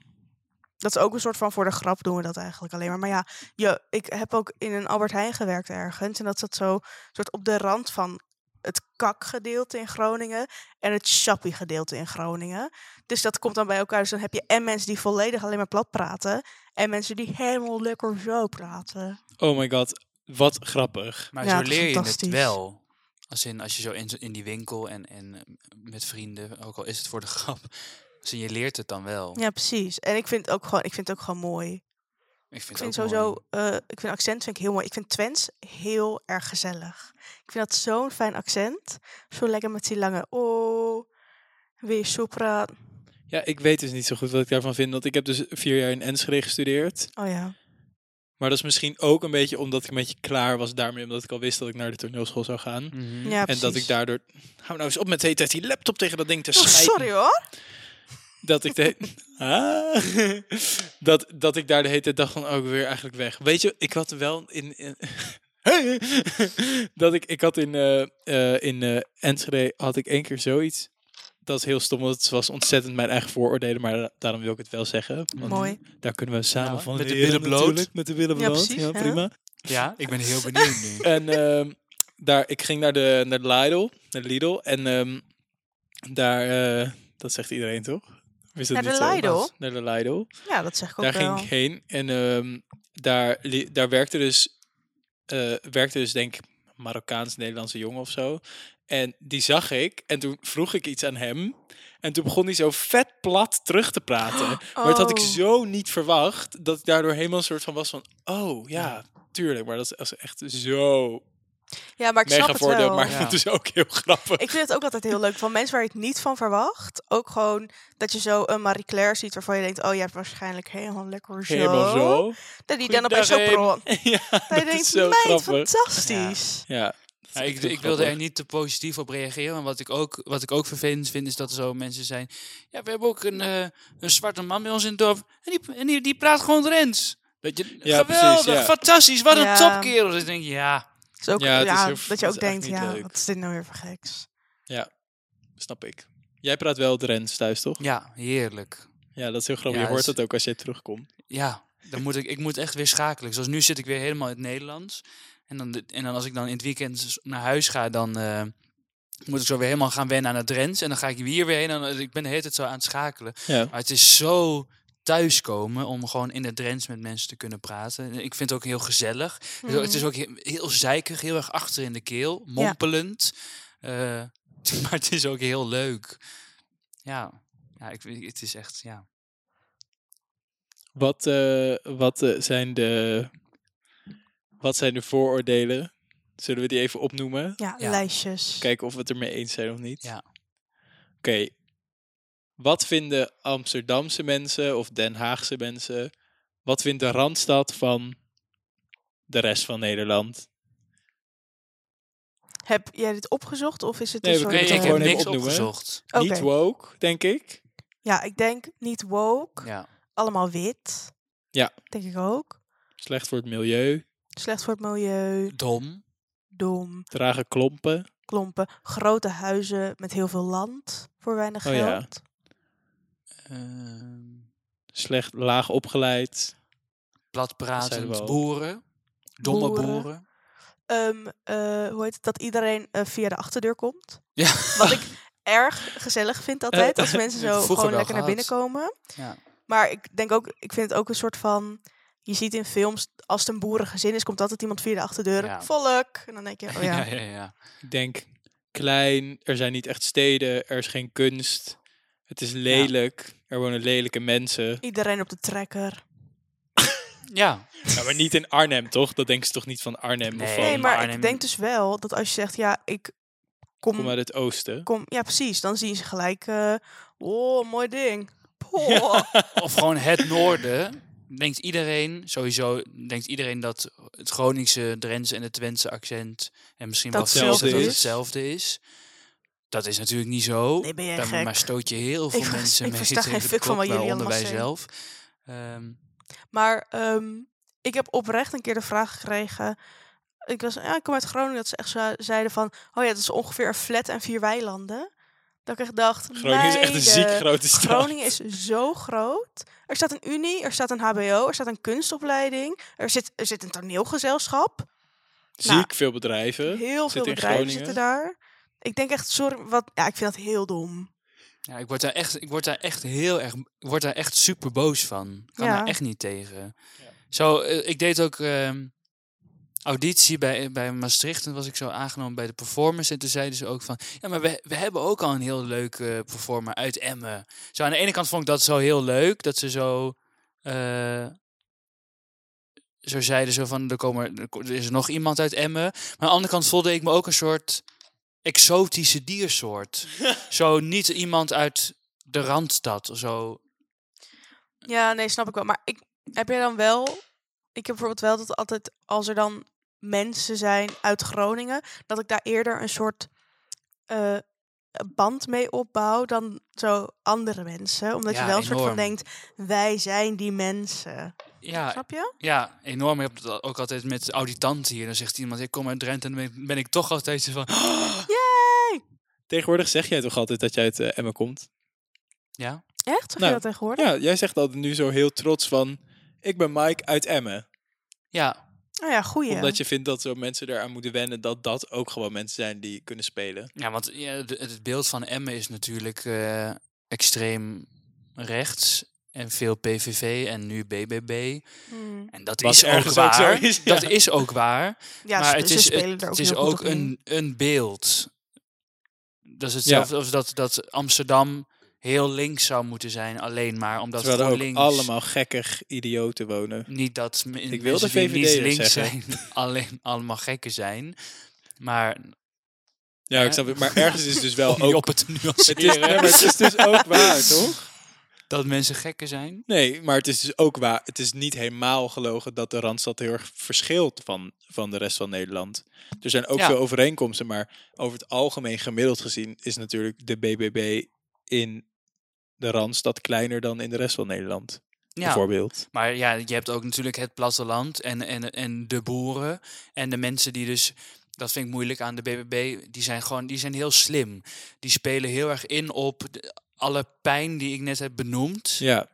Dat is ook een soort van voor de grap doen we dat eigenlijk alleen maar. Maar ja, je, ik heb ook in een Albert Heijn gewerkt ergens. En dat zat zo soort op de rand van het kakgedeelte in Groningen en het chappie gedeelte in Groningen. Dus dat komt dan bij elkaar. Dus dan heb je en mensen die volledig alleen maar plat praten. En mensen die helemaal lekker zo praten.
Oh my god, wat grappig.
Maar
Ja,
zo
het is
leer je het
fantastisch.
wel. Als in, als je zo in, in die winkel en, en eh, met vrienden, ook al is het voor de grap. Als in, je leert het dan wel.
Ja, precies. En ik vind het ook gewoon, ik vind het ook gewoon mooi.
Ik vind,
Ik vind
het ook
sowieso,
mooi.
eh, ik vind accent vind ik heel mooi. Ik vind Twents heel erg gezellig. Ik vind dat zo'n fijn accent. Zo lekker met die lange oh, weer sopra.
Ja, ik weet dus niet zo goed wat ik daarvan vind. Want ik heb dus vier jaar in Enschede gestudeerd.
Oh ja.
Maar dat is misschien ook een beetje omdat ik een beetje klaar was daarmee. Omdat ik al wist dat ik naar de toneelschool zou gaan.
Mhm.
Mm. ja
Mm. en dat ik
precies.
daardoor... Hou nou eens op met de hele tijd die laptop tegen dat ding te
Oh,
smijten.
sorry hoor.
Dat ik, de, Ah. dat, dat ik daar de hele tijd dacht van ook weer eigenlijk weg. Weet je, ik had wel in... in dat ik, ik had in, eh, eh, in eh, Enschede had ik één keer zoiets. Dat is heel stom, want het was ontzettend mijn eigen vooroordelen. Maar da- daarom wil ik het wel zeggen. Want
Mooi.
Daar kunnen we samen
Nou,
van
Mm. met de
leren
billen bloot.
natuurlijk, Met de billen
Ja,
bloot. Ja,
precies, hè?
prima.
Ja, ik ben heel benieuwd nu.
En ehm, daar, ik ging naar de, naar de Lidl. Naar de Lidl. En ehm, daar, eh, dat zegt iedereen toch? Of is dat
Naar de
niet zo?
Lidl?
Naar de Lidl.
Ja, dat zeg ik ook
Daar
wel.
ging ik heen. En ehm, daar, li- daar werkte dus, eh, werkte dus denk ik Marokkaans-Nederlandse jongen of zo. En die zag ik. En toen vroeg ik iets aan hem. En toen begon hij zo vet plat terug te praten. Maar dat had ik
Oh.
zo niet verwacht. Dat ik daardoor helemaal een soort van was van... Oh, ja, tuurlijk. Maar dat is- dat is echt zo
Ja, maar ik
mega
snap het
voordeel,
wel.
maar
Ja.
het is ook heel grappig.
Ik vind het ook altijd heel leuk van mensen waar je het niet van verwacht. Ook gewoon dat je zo een Marie Claire ziet waarvan je denkt, oh, je hebt waarschijnlijk helemaal lekker zo.
Helemaal zo.
Dat die dan opeens zo
Goeiedag,
pro.
Em. Ja, dat,
Dat je
is
denkt,
zo
meid,
grappig.
fantastisch.
Ja, dat is
Ja,
echt
ik,
heel
ik wilde er
grappig.
niet te positief op reageren. want Wat ik ook, wat ik ook vervelend vind, is dat er zo mensen zijn. Ja, we hebben ook een, eh, een zwarte man bij ons in het dorp. En die, en die, die praat gewoon Drents. Dat je,
Ja,
geweldig,
precies, ja.
fantastisch, wat
Ja.
een topkerel. Dus ik denk, ja,
Is ook,
Ja,
ja,
het is heel-
dat
het
je
is
ook
echt
denkt,
niet
ja,
leuk.
wat is dit nou weer voor geks?
Snap ik. Jij praat wel Drents thuis, toch?
ja, heerlijk.
Ja, dat is heel grappig.
Ja,
je hoort
dat is-
dat ook als je terugkomt.
Ja, dan moet ik, ik moet echt weer schakelen. Zoals nu zit ik weer helemaal in het Nederlands. En dan, de- en dan als ik dan in het weekend naar huis ga, dan eh, moet ik zo weer helemaal gaan wennen aan het Drents. En dan ga ik hier weer heen. En dan, ik ben de hele tijd zo aan het schakelen.
Ja.
Maar het is zo thuiskomen om gewoon in de Drents met mensen te kunnen praten. En Ik vind het ook heel gezellig. Het is ook- Het is ook he- heel zeikig, heel erg achter in de keel, mompelend. Eh, maar het is ook heel leuk. Ja, ja ik, weet- het is echt, ja.
Wat, eh, wat, eh, zijn de, wat zijn de vooroordelen? Zullen we die even opnoemen?
Ja,
Ja.
lijstjes.
Kijken of we het ermee eens zijn of niet.
Ja.
Oké. Wat vinden Amsterdamse mensen of Den Haagse mensen? Wat vindt de Randstad van de rest van Nederland?
Heb jij dit opgezocht of is het
Nee,
een
we
soort...
kunnen
Nee,
het
ik
eh,
gewoon
heb
even
niks
opnoemen.
opgezocht.
Oké.
Niet woke, denk ik.
Ja, ik denk niet woke.
Ja.
Allemaal wit.
Ja.
Denk ik ook.
Slecht voor het milieu.
Slecht voor het milieu.
Dom.
Dom.
Dragen klompen.
Klompen. Grote huizen met heel veel land. Voor weinig
Oh ja.
geld.
ehm,
Slecht laag opgeleid. zeiden we
platpratend
al.
boeren. Domme
Boeren.
boeren.
Ehm, eh, hoe heet het? Dat iedereen eh, via de achterdeur komt.
Ja.
Wat ik erg gezellig vind altijd. Als mensen
heb
zo
ik vroeger
gewoon
wel
lekker naar binnen
gehad.
komen.
Ja.
Maar ik denk ook, ik vind het ook een soort van. Je ziet in films, als het een boerengezin is, komt altijd iemand via de achterdeur.
Ja.
Volk! En dan denk je, oh ja.
ja, ja, ja.
Ik denk klein. Er zijn niet echt steden. Er is geen kunst. Het is lelijk. Er wonen lelijke mensen.
Iedereen op de trekker.
Ja,
Ja, maar niet in Arnhem, toch? Dat denken ze toch niet van Arnhem? of
Nee.
van,
Nee, maar
Arnhem-
ik denk dus wel dat als je zegt, ja, ik kom...
kom uit het oosten.
kom ja, precies. Dan zien ze gelijk, eh, oh, mooi ding. Poh.
of gewoon het noorden. Denkt iedereen, sowieso denkt iedereen dat het Groningse, Drentse en het Twentse accent en misschien wel
Dat
Friese dat
hetzelfde
het
is.
hetzelfde is. Dat is natuurlijk niet zo.
Nee, ben jij
Daar-
gek.
maar stoot je heel veel
vers-
mensen
ik
mee
versta
tegen
geen
de
fuck van
kop,
wat jullie
waaronder wij
allemaal
zelf. Ehm,
Maar ehm, ik heb oprecht een keer de vraag gekregen. Ik was, ja, ik kom uit Groningen, dat ze echt zo- zeiden van, oh ja, dat is ongeveer een flat en vier weilanden. Dat ik echt dacht,
Groningen is echt een ziek
meiden,
grote stad.
Groningen is zo groot. Er staat een unie, er staat een hbo, er staat een kunstopleiding, er zit, er zit een toneelgezelschap.
Ziek
nou,
veel bedrijven.
Heel
Zit
veel
in
bedrijven
Groningen.
zitten daar. Ik denk echt, sorry, wat, ja, ik vind dat heel dom.
Ja, ik word daar echt, ik word daar echt heel erg, ik word daar echt super boos van. Ik kan
Ja.
daar echt niet tegen.
Ja.
Zo, eh, ik deed ook ehm, auditie bij, bij Maastricht en was ik zo aangenomen bij de performance. En toen zeiden ze ook van, ja, maar we, we hebben ook al een heel leuk eh, performer uit Emmen. Zo, aan de ene kant vond ik dat zo heel leuk, dat ze zo... eh, zo zeiden zo van, er, komen, er ko- er is nog iemand uit Emmen. Maar aan de andere kant voelde ik me ook een soort exotische diersoort. zo niet iemand uit de Randstad of zo.
Ja, nee, snap ik wel. Maar ik, heb je dan wel... Ik heb bijvoorbeeld wel dat altijd als er dan mensen zijn uit Groningen... dat ik daar eerder een soort eh, band mee opbouw dan zo andere mensen. Omdat
Ja,
je wel een soort van
enorm.
denkt, wij zijn die mensen.
Ja,
Snap je?
ja enorm. Ik heb dat ook altijd met auditanten hier. Dan zegt iemand, ik kom uit Drenthe. En dan ben ik- ben ik toch altijd zo van...
Yay!
Tegenwoordig zeg jij toch altijd dat jij uit eh, Emmen komt?
Ja,
Echt? Zeg
Nou,
je dat tegenwoordig?
Ja, jij zegt altijd nu zo heel trots van... Ik ben Mike uit Emmen.
ja,
Oh ja, goeie.
Omdat je vindt dat zo mensen eraan moeten wennen... dat dat ook gewoon mensen zijn die kunnen spelen.
ja want ja, de- het beeld van Emmen is natuurlijk eh, extreem rechts. En veel PVV en nu BBB.
Hmm.
En dat
Wat
is ook
ergens ook zo
waar.
is, ja.
Dat is ook waar.
Ja,
maar
ze,
het
ze
is, eh,
spelen
het,
er ook
het is
heel goed
ook
op in.
een, een beeld. Dat is hetzelfde als dat, dat Amsterdam heel links zou moeten zijn, alleen maar omdat
Terwijl er ook
GroenLinks
allemaal gekkig idioten wonen.
niet dat m- mensen
wilde
die niet
VVD'er
links
zeggen.
zijn, alleen allemaal gekken zijn. Maar
Ja, Nou, ik
Hè?
snap het. Maar ergens is dus wel
om niet
ook...
op het te
Het is,
nuanceren
nee, maar het is dus ook waar, toch?
dat mensen gekken zijn.
Nee, maar het is dus ook waar. Het is niet helemaal gelogen dat de Randstad heel erg verschilt van, van de rest van Nederland. Er zijn ook
Ja.
veel overeenkomsten, maar over het algemeen gemiddeld gezien is natuurlijk de BBB in de Randstad kleiner dan in de rest van Nederland.
Ja.
Bijvoorbeeld.
Maar ja, je hebt ook natuurlijk het platteland en, en, en de boeren en de mensen die dus, dat vind ik moeilijk aan de BBB, die zijn gewoon, die zijn heel slim. Die spelen heel erg in op de- alle pijn die ik net heb benoemd,
Ja,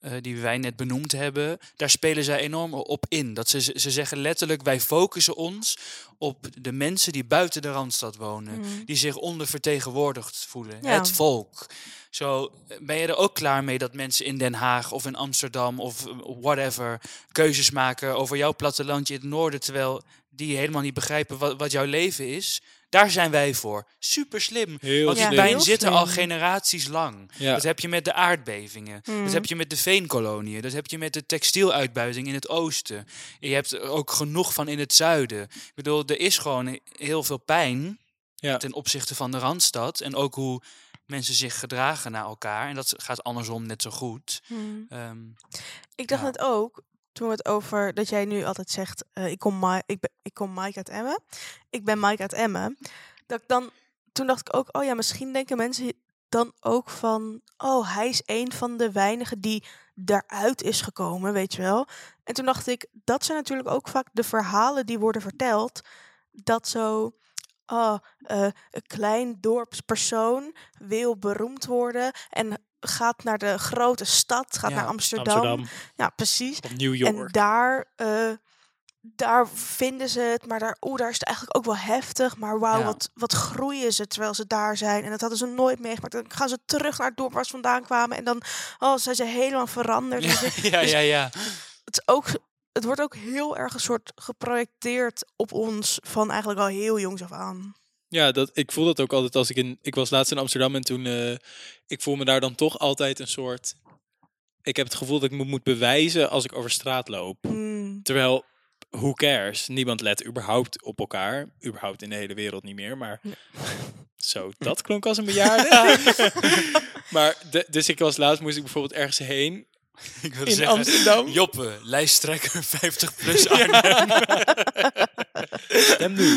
eh, die wij net benoemd hebben. Daar spelen zij enorm op in. Dat ze, ze zeggen letterlijk, wij focussen ons op de mensen die buiten de Randstad wonen
Hmm.
die zich ondervertegenwoordigd voelen.
Ja.
Het volk. Zo, eh, ben je er ook klaar mee dat mensen in Den Haag of in Amsterdam of eh, whatever keuzes maken over jouw plattelandje in het noorden, terwijl die helemaal niet begrijpen wat, wat jouw leven is? Daar zijn wij voor. Super slim.
heel
Want die
slim.
bij-
pijn
heel
zit er al
slim.
generaties lang.
Ja.
Dat heb je met de aardbevingen.
Mm.
Dat heb je met de veenkoloniën. Dat heb je met de textieluitbuiting in het oosten. Je hebt er ook genoeg van in het zuiden. Ik bedoel, er is gewoon heel veel pijn
Ja.
ten opzichte van de Randstad. En ook hoe mensen zich gedragen naar elkaar. En dat gaat andersom net zo goed.
Hmm.
Ehm,
Ik dacht
Ja.
net ook, toen we het over dat jij nu altijd zegt, eh, ik, kom Mi- ik, ben, ik kom Mike uit Emmen. Ik ben Mike uit Emmen. Dat ik dan, toen dacht ik ook, oh ja, misschien denken mensen dan ook van, oh, hij is een van de weinigen die daaruit is gekomen, weet je wel. En toen dacht ik, dat zijn natuurlijk ook vaak de verhalen die worden verteld. Dat zo, ah, eh, een klein dorpspersoon wil beroemd worden en gaat naar de grote stad, gaat
Ja,
naar Amsterdam.
Amsterdam
Ja, precies.
of New
En
York.
daar, eh, daar vinden ze het, maar daar, oeh, daar is het eigenlijk ook wel heftig. Maar wauw,
Ja.
wat, wat groeien ze terwijl ze daar zijn. En dat hadden ze nooit meegemaakt. Dan gaan ze terug naar het dorp waar ze vandaan kwamen. En dan oh, zijn ze helemaal veranderd. En zo.
ja, ja, ja.
Het, is ook, het wordt ook heel erg een soort geprojecteerd op ons van eigenlijk al heel jongs af aan.
Ja, dat, ik voel dat ook altijd als ik in. Ik was laatst in Amsterdam en toen. eh, ik voel me daar dan toch altijd een soort. Ik heb het gevoel dat ik me moet bewijzen als ik over straat loop.
Mm,
Terwijl, who cares? Niemand let überhaupt op elkaar. Überhaupt in de hele wereld niet meer. Maar zo, dat klonk als een bejaarde. maar de- dus ik was laatst, moest ik bijvoorbeeld ergens heen.
Ik wil
In
zeggen,
Amsterdam.
Joppe, lijsttrekker 50 plus Arnhem.
Stem nu.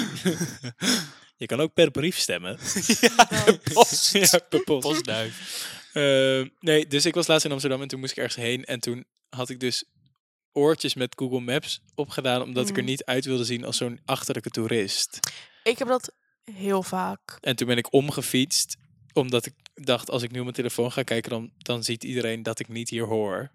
Je kan ook per brief stemmen.
Post.
ja, per post.
Postduif.
Eh, nee, dus ik was laatst in Amsterdam en toen moest ik ergens heen. En toen had ik dus oortjes met Google Maps opgedaan, omdat ik er
Mm.
niet uit wilde zien als zo'n achterlijke toerist.
Ik heb dat heel vaak.
En toen ben ik omgefietst Omdat ik dacht, als ik nu op mijn telefoon ga kijken, dan, dan ziet iedereen dat ik niet hier hoor.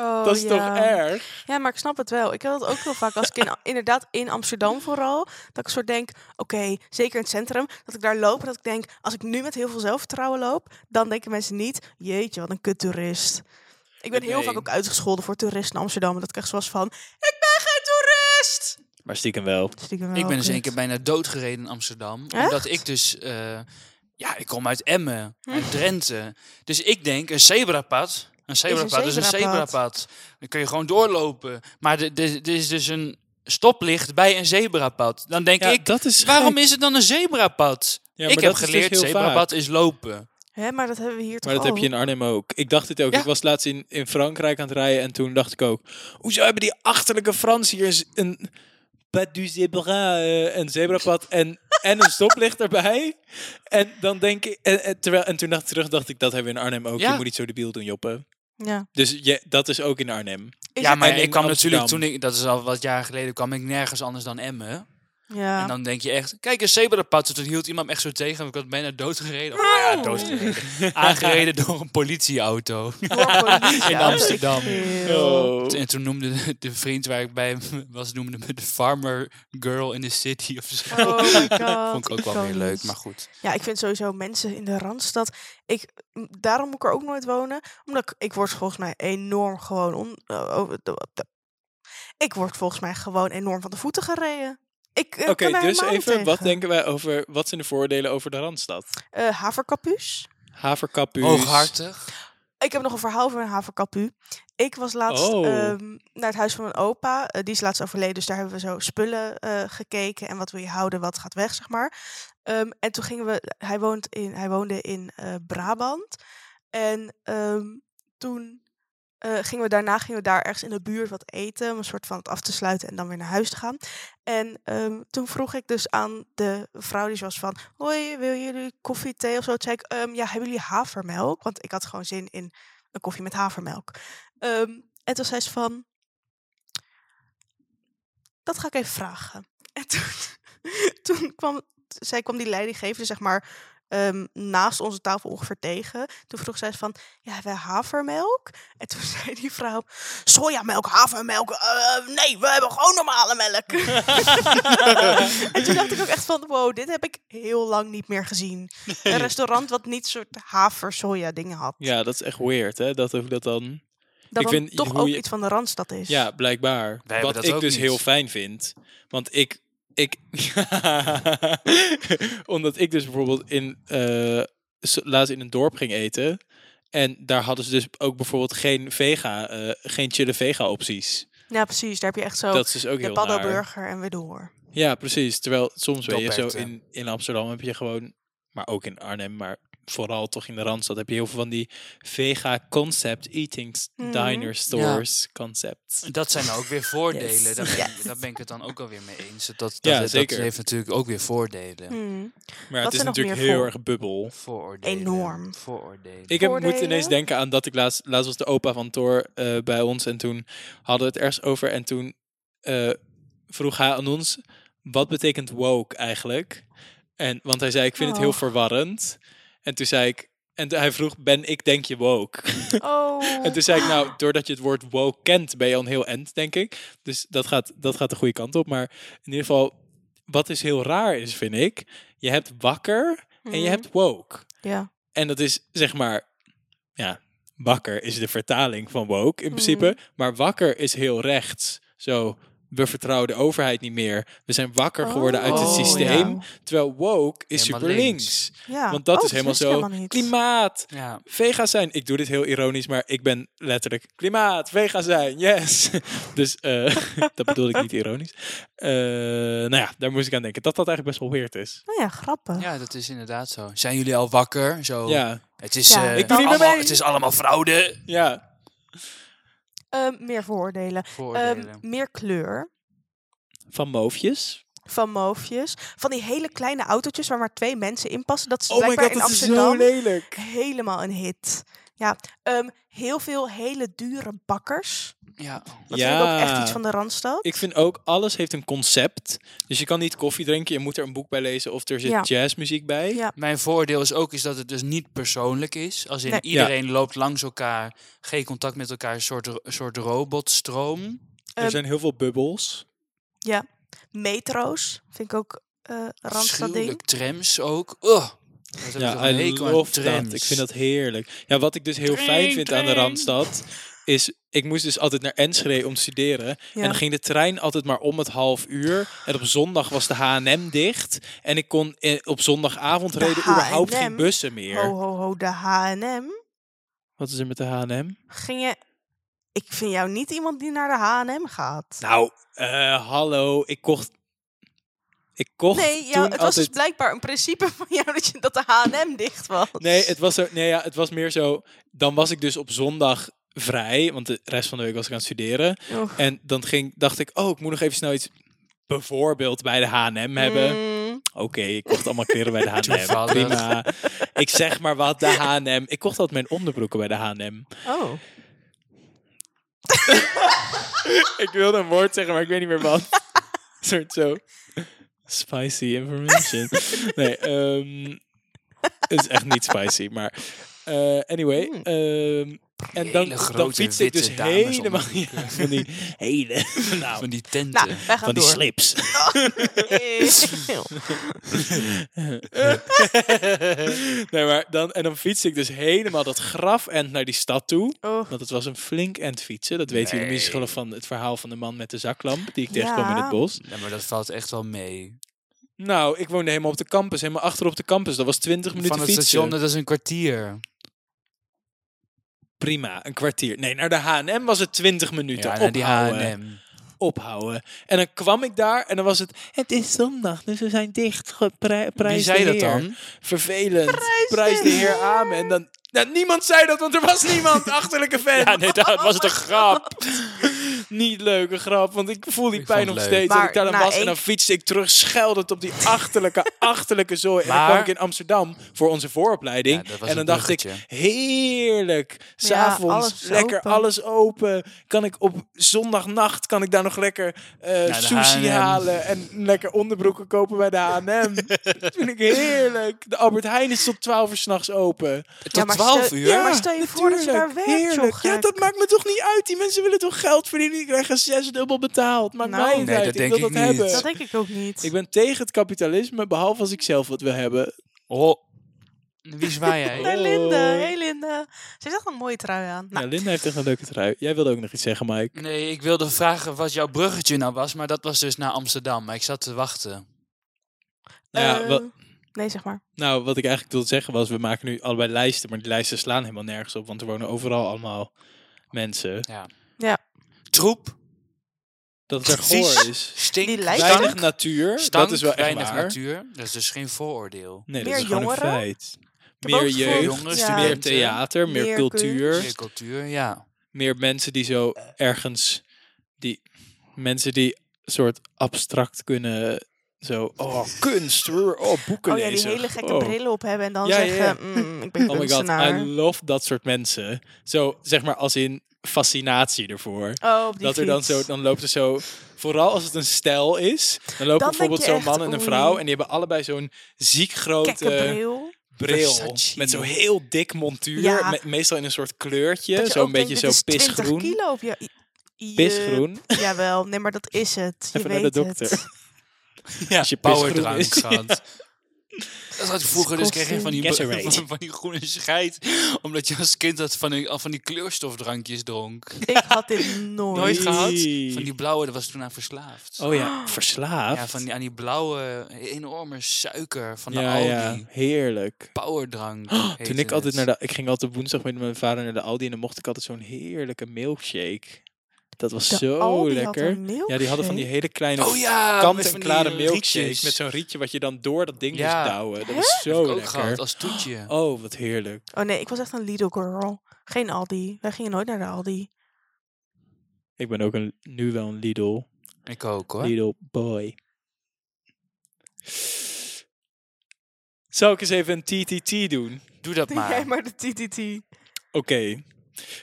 Oh,
dat is
ja.
toch erg?
Ja, maar ik snap het wel. Ik heb dat ook heel vaak als ik in, inderdaad in Amsterdam vooral, dat ik soort denk, oké, zeker in het centrum, dat ik daar loop en dat ik denk, als ik nu met heel veel zelfvertrouwen loop, dan denken mensen niet, jeetje, wat een kut toerist. Ik ben heel
Nee.
vaak ook uitgescholden voor toeristen in Amsterdam. en Dat ik echt zoals van, ik ben geen toerist!
Maar stiekem wel.
Stiekem
Ik
wel
ben dus
kut.
één keer bijna doodgereden in Amsterdam.
Echt?
Omdat ik dus... eh, ja, ik kom uit Emmen, uit Drenthe. Dus ik denk, een zebrapad... Een zebrapad is een
zebrapad.
zebrapad. Dan kun je gewoon doorlopen. Maar er- er er is dus een stoplicht bij een zebrapad. Dan denk
Ja,
ik,
dat is
waarom
gek.
is het dan een zebrapad?
Ja, maar
ik heb
dat is dus
geleerd,
heel
zebrapad is lopen.
Hè, maar dat hebben we hier toch
Maar dat heb je
ook?
in Arnhem ook. Ik dacht dit ook.
Ja.
Ik was laatst in, in Frankrijk aan het rijden en toen dacht ik ook... Hoezo hebben die achterlijke Fransiërs een pas du zebra, eh, een zebrapad en, en een stoplicht erbij? En, dan denk ik, en, en terwijl, en toen dacht ik terug, dacht ik, dat hebben we in Arnhem ook.
Ja.
Je moet niet zo debiel doen, Joppe.
Ja.
Dus je, dat is ook in Arnhem.
Is
ja,
het-
maar
en
ik
in
kwam natuurlijk
Amsterdam.
toen ik... Dat is al wat jaren geleden, kwam ik nergens anders dan Emmen.
ja.
En dan denk je echt, kijk, een zebrapad. Toen hield iemand me echt zo tegen. Ik had bijna doodgereden. Of, nou ja, doodgereden. Aangereden door een politieauto
Door politie.
in Amsterdam. Oh.
Heel.
En toen noemde de, de vriend waar ik bij was, noemde me de farmer girl in the city of zo.
Oh my god.
Vond ik ook wel weer
iconisch.
leuk, maar goed.
Ja, ik vind sowieso mensen in de Randstad... Ik, m, daarom moet ik er ook nooit wonen. Omdat ik, ik word volgens mij enorm gewoon... On, eh, over de- de- ik word volgens mij gewoon enorm van de voeten gereden. Ik eh,
Oké,
kan daar
dus
helemaal niet
even, wat
tegen.
denken wij over... Wat zijn de voordelen over de Randstad?
Eh, haverkapuus.
Haverkapuus.
Hooghartig.
Ik heb nog een verhaal over een haverkapu. Ik was laatst
Oh.
ehm, naar het huis van mijn opa. Eh, die is laatst overleden, dus daar hebben we zo spullen eh, gekeken. En wat wil je houden, wat gaat weg, zeg maar. Ehm, en toen gingen we... Hij, woont in, hij woonde in eh, Brabant. En ehm, toen eh, gingen we daarna gingen we daar ergens in de buurt wat eten. Om een soort van het af te sluiten en dan weer naar huis te gaan. En ehm, toen vroeg ik dus aan de vrouw die zo was van... Hoi, willen jullie koffie, thee of zo? Toen zei ik, "Ehm, ja, hebben jullie havermelk? Want ik had gewoon zin in een koffie met havermelk. Ehm, en toen zei ze van... Dat ga ik even vragen. En toen, toen kwam, zij kwam die leidinggevende zeg maar ehm, naast onze tafel ongeveer tegen. Toen vroeg zij van, ja, hebben we havermelk? En toen zei die vrouw, sojamelk, havermelk, eh, nee, we hebben gewoon normale melk. en toen dacht ik ook echt van, wow, dit heb ik heel lang niet meer gezien. Een restaurant wat niet soort haver, soja dingen had.
Ja, dat is echt weird, hè? Dat ook dat dan...
Dat
Ik
dan
vind
toch
hoe
ook
je-
iets van de Randstad is.
Ja, blijkbaar.
Wij hebben
Wat
dat
ik
ook
dus
niet.
heel fijn vind. Want ik. ik Omdat ik dus bijvoorbeeld in. eh, s- laatst in een dorp ging eten. En daar hadden ze dus ook bijvoorbeeld geen vega, eh, geen chille vega opties.
Ja, precies. Daar heb je echt zo
dat is dus ook
de
heel naar.
paddoburger en weer door.
Ja, precies. Terwijl soms weet je zo
Doperten.
in, in Amsterdam heb je gewoon, maar ook in Arnhem, maar vooral toch in de Randstad heb je heel veel van die vega concept eating s-
Mhm.
diner stores concepts.
Dat zijn nou ook weer voordelen.
Yes.
Daar, ben, daar ben ik het dan ook alweer mee eens. Dat, dat,
Ja,
dat, dat
zeker.
heeft natuurlijk ook weer voordelen.
Hmm.
Maar het
Wat
is
er nog
natuurlijk
meer
heel
voor-
erg bubbel.
Vooroordelen.
Enorm.
Vooroordelen.
Ik heb, moet
voordelen?
ineens denken aan dat ik laatst, laatst was de opa van Thor eh, bij ons en toen hadden we het ergens over en toen eh, vroeg hij aan ons wat betekent woke eigenlijk? En, want hij zei ik vind het heel
Oh.
verwarrend. En toen zei ik, en hij vroeg ben ik denk je woke?
Oh.
En toen zei ik nou doordat je het woord woke kent ben je al een heel end denk ik. Dus dat gaat, dat gaat de goede kant op. Maar in ieder geval wat is heel raar is vind ik, je hebt wakker en je
Mhm.
hebt woke.
Ja.
En dat is zeg maar, ja, wakker is de vertaling van woke in principe. Maar wakker is heel rechts. Zo, we vertrouwen de overheid niet meer. We zijn wakker geworden uit het
Oh,
systeem.
ja.
Terwijl woke is
Helemaal
super links.
links.
Ja.
Want dat
Oh,
is helemaal
wist ik
zo.
niet.
Klimaat,
Ja.
vega zijn. Ik doe dit heel ironisch, maar ik ben letterlijk klimaat, vega zijn, yes. Dus eh, dat bedoelde ik niet ironisch. Eh, nou ja, daar moest ik aan denken. Dat dat eigenlijk best wel weird is.
Nou ja, grappig.
ja, dat is inderdaad zo. Zijn jullie al wakker? Zo.
Ja,
Het, is,
Ja.
eh,
Ik
doe niet meer
allemaal,
mee.
het is allemaal fraude.
ja.
Ehm, meer vooroordelen. Ehm,
Voordelen.
meer kleur
Van moofjes.
van moofjes. Van die hele kleine autootjes waar maar twee mensen in passen. Dat is
Oh my
blijkbaar
god,
in
dat is zo
Amsterdam
lelijk.
helemaal een hit. Ja, ehm, heel veel hele dure bakkers.
Ja.
Dat
ja.
vind ik ook echt iets van de Randstad.
Ik vind ook, alles heeft een concept. Dus je kan niet koffie drinken, je moet er een boek bij lezen of er zit
Ja.
jazzmuziek bij.
Ja.
Mijn voordeel is ook is dat het dus niet persoonlijk is. Als in
Nee.
iedereen loopt langs elkaar, geen contact met elkaar, een soort, een soort robotstroom.
Er
Ehm,
zijn heel veel bubbels.
Metro's vind ik ook eh Randstad ding.
Afschuwelijk trams ook. Ugh. Wat heb ik toch
Ja,
een
I
hekel aan
love
trams.
dat. Ik vind dat heerlijk. Ja, wat ik dus heel fijn
Trein,
vind aan de
trein.
Randstad, is ik moest dus altijd naar Enschede om te studeren. En dan ging de trein altijd maar om het half uur. En op zondag was de H&M dicht. En ik kon eh, op zondagavond
De
reden überhaupt geen
H&M?
bussen meer.
Ho, ho, ho, de H&M.
Wat is er met de H&M?
Ging je... Ik vind jou niet iemand die naar de H&M gaat.
Nou, eh, hallo. Ik kocht... Ik kocht
nee, jou-
toen
het was
altijd...
dus blijkbaar een principe van jou dat, je, dat de H&M dicht was.
Nee, het was, zo, nee ja, het was meer zo... Dan was ik dus op zondag vrij. Want de rest van de week was ik aan het studeren.
Oeh.
En dan ging, dacht ik, oh, ik moet nog even snel iets... Bijvoorbeeld bij de H&M hebben.
Mm,
Oké, ik kocht allemaal kleren bij de H&M.
Toevallig.
Prima. Ik zeg maar wat, de H&M. Ik kocht altijd mijn onderbroeken bij de H&M.
oh.
Ik wilde een woord zeggen, maar ik weet niet meer wat. Een soort zo... Spicy information. Nee, ehm, het is echt niet spicy, maar... eh, anyway,
Hmm.
ehm, en dan,
Hele
dan
grote
fietste ik dus
witte dames
helemaal...
onderbroeken.
Ja, van die hele... Nou,
Van die tenten.
Nou, wij gaan
van die
door.
slips.
Eeuw.
nee, maar dan, en dan fiets ik dus helemaal dat grafend naar die stad toe.
Oh,
Want het was een flink end fietsen. Dat weten jullie misschien wel van het verhaal van de man met de zaklamp. Die ik tegenkwam in
Ja.
het bos.
Ja, maar dat valt echt wel mee.
Nou, ik woonde helemaal op de campus. Helemaal achter op de campus. Dat was 20 minuten
Van het
fietsen.
station, dat is een kwartier.
Prima, een kwartier. Nee, naar de H&M was het 20 minuten.
Ja, naar die
ophouden,
H&M.
ophouden. En dan kwam ik daar en dan was het... Het is zondag, dus we zijn dicht. Ge- Pri prijs
Wie
de
zei dat
Heer."
dan?
Vervelend. Prijs de, heer Amen. En dan... Nou, niemand zei dat, want er was niemand. Achterlijke fan.
Ja, nee, dat was het een grap.
niet leuke grap. Want ik voel die
Ik
pijn
vond
nog
het leuk.
steeds. dat
Maar
ik daar dan
na
was en
één-
dan fietste ik terug scheldend op die achterlijke, achterlijke zooi. En dan
Maar-
kwam ik in Amsterdam voor onze vooropleiding.
Ja, dat
en
was
dan
een
dacht ik,
bruggetje.
heerlijk. S'avonds,
alles is
lekker
open.
alles open. Kan ik op zondagnacht kan ik daar nog lekker eh,
de
sushi
H&M.
halen. En lekker onderbroeken kopen bij de H&M. dat vind ik heerlijk. De Albert Heijn is tot 12 uur s'nachts open.
Ja,
Tot
maar
12
stel-
uur?
Ja, maar stel je voor dat je daar
Natuurlijk,
werkt, joh,
heerlijk. Ja,
gek.
dat maakt me toch niet uit. Die mensen willen toch geld verdienen. Die krijgen zes dubbel betaald. Maakt
Nou.
mij niet
Nee,
uit.
dat
ik
denk
wil
ik
dat
niet.
hebben.
dat denk ik ook niet.
Ik ben tegen het kapitalisme, behalve als ik zelf wat wil
Nou.
hebben.
Oh. Wie zwaai jij?
Hey Linde,
Oh.
hey Linde. Ze heeft echt een mooie trui aan. Nou,
Ja, Linda heeft echt een leuke trui. Jij wilde ook nog iets zeggen, Mike.
Nee, ik wilde vragen wat jouw bruggetje nou was, maar dat was dus naar Amsterdam. Maar ik zat te wachten.
Nou, ja,
eh,
wat,
Nee, zeg maar.
nou, wat ik eigenlijk wilde zeggen was, we maken nu allebei lijsten, maar die lijsten slaan helemaal nergens op, want er wonen overal allemaal mensen.
Troep,
Dat het er
Precies.
goor is.
stink,
Die lijst-
stank,
Weinig natuur,
stank,
dat is wel echt
weinig
waar.
natuur. Dat is dus geen vooroordeel.
Nee,
Meer
dat is gewoon
jongeren?
een feit.
heb ook
Meer
het gevoel-
jeugd,
Jongeren,
Ja.
meer
studenten,
theater, meer,
Meer
cultuur.
meer cultuur, ja.
meer mensen die zo
Eh.
ergens die mensen die soort abstract kunnen zo oh kunst hoor, oh boeken
Oh ja, die
lezen.
hele gekke
oh.
brillen op hebben en dan
Ja, ja, ja.
zeggen, "Mm, ik ben
Oh my god,
kunstenaar.
I love dat soort mensen. Zo zeg maar als in fascinatie ervoor.
oh, op die
Dat er dan zo,
fiets.
dan loopt er zo, vooral als het een stijl is, dan lopen
denk
bijvoorbeeld
je
zo'n
echt,
man en een
oei.
vrouw en die hebben allebei zo'n ziek
Kekke
grote
bril.
bril
Versace.
met zo'n heel dik montuur,
Ja.
me- meestal in een soort
Dat
kleurtje, zo'n
je ook denkt,
beetje
dit
zo
is 20
pisgroen.
kilo op je... i- i-
Pisgroen.
Jawel, nee, maar dat is het. Je
Even naar
weet
de dokter.
het.
Ja,
Als je
powerdrank
pisgroen is.
gehad. Dat had ik vroeger, dus kreeg je van die,
Gatorade.
van, van die groene scheid. Omdat je als kind dat van die, al van die kleurstofdrankjes dronk.
Ik had dit nooit.
Nooit
Nee.
gehad? Van die blauwe, daar was ik toen aan verslaafd.
Oh ja, verslaafd.
Ja, van die, aan die blauwe, enorme suiker van de
ja,
Aldi.
ja, heerlijk.
Powerdrank. heette
Toen ik altijd
het.
naar de, ik ging altijd op woensdag met mijn vader naar de Aldi en dan mocht ik altijd zo'n heerlijke milkshake. Dat was
De
zo
Aldi had
lekker.
een milkshake.
ja, die hadden van die hele kleine
Oh ja, met van die
kant-en-klare
rietjes.
milkshake met zo'n rietje wat je dan door dat ding
Ja.
moest douwen. Dat was zo
ook gehad
lekker.
als toetje.
Oh, wat heerlijk.
Oh nee, ik was echt een Lidl girl. Geen Aldi. Wij gingen nooit naar de Aldi.
Ik ben ook een, nu wel een Lidl,
Ik ook hoor.
Lidl boy. Zou ik eens even een TTT doen?
Doe dat
Doe jij
maar.
maar de TTT.
Oké.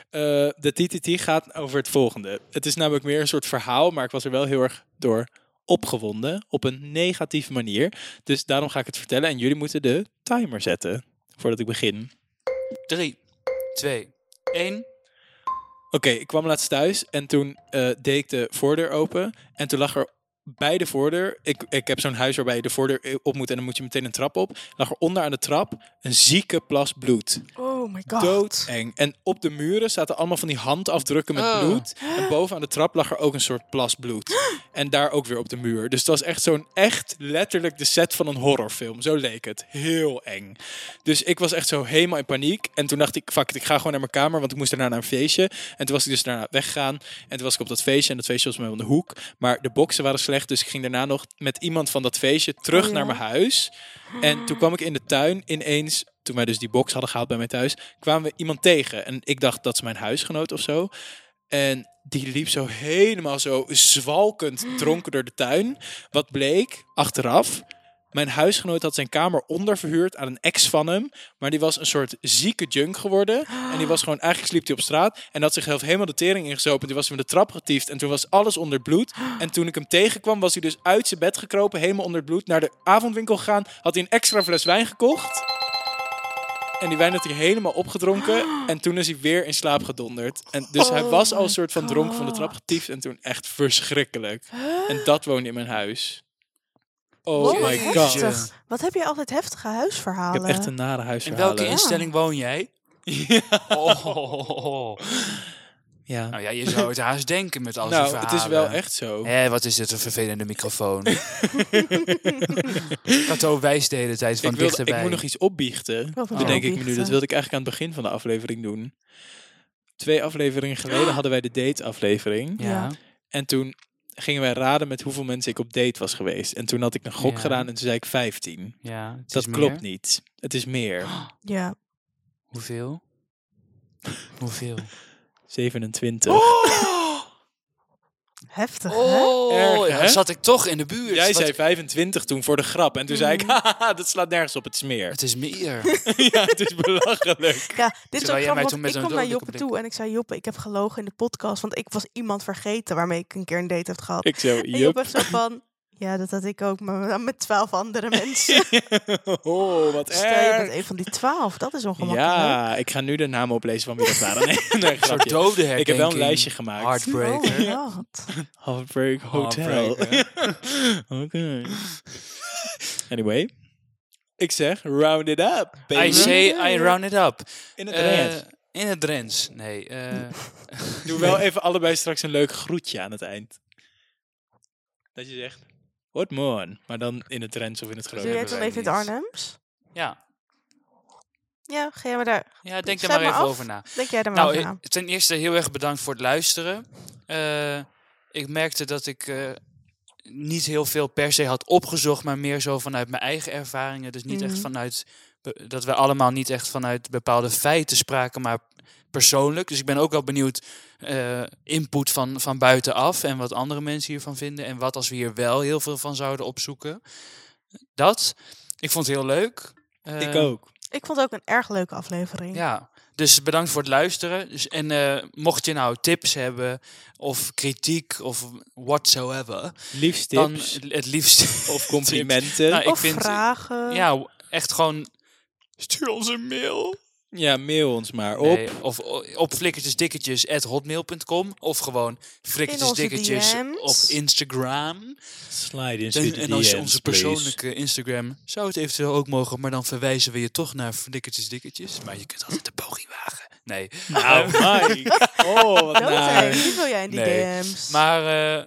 Eh, de TTT gaat over het volgende. Het is namelijk meer een soort verhaal, maar ik was er wel heel erg door opgewonden. Op een negatieve manier. Dus daarom ga ik het vertellen en jullie moeten de timer zetten. Voordat ik begin.
3, 2, 1.
Oké, ik kwam laatst thuis en toen eh, deed ik de voordeur open. En toen lag er bij de voordeur... Ik, ik heb zo'n huis waarbij je de voordeur eh, op moet en dan moet je meteen een trap op. Lag er onder aan de trap een zieke plas bloed.
Oh my god.
Doodeng. En op de muren zaten allemaal van die handafdrukken met
Oh.
bloed. En boven aan de trap lag er ook een soort plas bloed. En daar ook weer op de muur. Dus het was echt zo'n echt letterlijk de set van een horrorfilm. Zo leek het. Heel eng. Dus ik was echt zo helemaal in paniek. En toen dacht ik, fuck it, ik ga gewoon naar mijn kamer. Want ik moest daarna naar een feestje. En toen was ik dus daarna weggegaan. En toen was ik op dat feestje. En dat feestje was bij mij om de hoek. Maar de boksen waren slecht. Dus ik ging daarna nog met iemand van dat feestje terug
Oh ja.
naar mijn huis. En toen kwam ik in de tuin ineens, toen wij dus die box hadden gehaald bij mij thuis, kwamen we iemand tegen. En ik dacht, dat is mijn huisgenoot of zo. En die liep zo helemaal zo zwalkend dronken door de tuin. Wat bleek, achteraf, mijn huisgenoot had zijn kamer onderverhuurd aan een ex van hem. Maar die was een soort zieke junk geworden. En die was gewoon, eigenlijk sliep hij op straat. En had zichzelf helemaal de tering ingezopen. Die was van de trap getiefd. En toen was alles onder het bloed. En toen ik hem tegenkwam, was hij dus uit zijn bed gekropen. Helemaal onder het bloed. Naar de avondwinkel gegaan. Had hij een extra fles wijn gekocht. En die wijn had hij helemaal opgedronken. En toen is hij weer in slaap gedonderd. En dus hij
Oh
was al
my
een soort van dronken van de trap
God.
getiefd. En toen echt verschrikkelijk. En dat woonde in mijn huis. Oh
Wat
my god.
heftig. Wat heb je altijd heftige
Ik
huisverhalen?
heb echt een nare
In
huisverhalen.
welke instelling woon jij? Oh.
Ja.
Nou ja, je zou het haast denken met al die
Nou, het
verhalen.
is wel echt zo.
Hé, wat is dit een vervelende microfoon. Kato wijst de hele tijd van
ik, wilde,
dichterbij.
ik moet nog iets opbiechten.
Wat moet
Bedenk
je
ik me nu. Dat
Oh. opbiechten?
wilde ik eigenlijk aan het begin van de aflevering doen. Twee afleveringen geleden hadden wij de date-aflevering.
Ja.
Ja.
En toen gingen wij raden met hoeveel mensen ik op date was geweest. En toen had ik een gok
Ja.
gedaan en toen zei ik 15.
Ja, het
Dat
is
klopt
meer.
niet. Het is meer.
Ja.
Hoeveel? Hoeveel?
27.
Heftig, hè?
Oh,
Erg,
ja,
hè?
zat ik toch in de
Jij
buurt. dus Wat- Mm.
zei 25 toen voor de grap. En toen zei ik, haha, dat slaat nergens op, het is meer.
Het is meer.
ja, het is belachelijk.
Ja, dit is ook
jij
grappig,
mij toen
want ik
met een
kwam naar
dodelijke
Joppe
blik-
toe en ik zei... Joppe, ik heb gelogen in de podcast, want ik was iemand vergeten waarmee ik een keer een date heb gehad.
Ik zo,
En
jup.
Joppe zo van... Ja, dat had ik ook, maar met twaalf andere mensen. Dus
oh, wat
Stel je
erg.
bent een van die twaalf, dat is ongemakkelijk. Oh,
Ja, ik ga nu de namen oplezen van wie dat waren. Nee, nee,
Een soort
grapje.
dode
Ik heb wel een
herdenking.
lijstje gemaakt.
Heartbreaker.
Oh, god.
Heartbreak Hotel.
Heartbreaker.
Oké. Anyway. Ik zeg, round it up, baby.
I say I round it up.
In het
Eh,
red.
in het Drents. Nee. eh,
Doe wel even allebei straks een leuk groetje aan het eind. Dat je zegt, what man? Maar dan in het Rens of in het
Doe
Groningen.
jij het
hebben
dan even in
wij
het
niet.
Arnhems?
ja.
Ja, ga jij maar daar.
ja, denk
Zet
daar maar
maar
even
af.
over na.
Denk jij er maar
Nou,
over
eh,
na.
ten eerste heel erg bedankt voor het luisteren. Eh, ik merkte dat ik eh, niet heel veel per se had opgezocht, maar meer zo vanuit mijn eigen ervaringen. Dus niet echt
Mhm.
vanuit be- dat we allemaal niet echt vanuit bepaalde feiten spraken, maar persoonlijk. Dus ik ben ook wel benieuwd eh, input van, van buitenaf en wat andere mensen hiervan vinden. En wat als we hier wel heel veel van zouden opzoeken. Dat. Ik vond het heel leuk.
Ik
Eh,
ook.
Ik vond het ook een erg leuke aflevering.
ja, dus bedankt voor het luisteren. Dus, en eh, mocht je nou tips hebben of kritiek of whatsoever,
Liefst
dan
tips
het liefst.
of complimenten.
Nou, ik
of
vind-
vragen.
ja, w- echt gewoon. Stuur ons een mail.
Ja, mail ons maar op.
Nee, of o- op flikkertjesdikkertjes.hotmail.com of gewoon flikkertjesdikkertjes
In onze
op
DM's.
Instagram.
Slide in
En, en als je onze persoonlijke Instagram zou het eventueel ook mogen, maar dan verwijzen we je toch naar flikkertjesdikkertjes. Maar je kunt altijd de poging wagen. Nee. Eh,
Nou, Mike. Oh, wat
Dood, hè?
naar.
Wie wil jij in die
nou, Nee.
DM's?
Maar eh,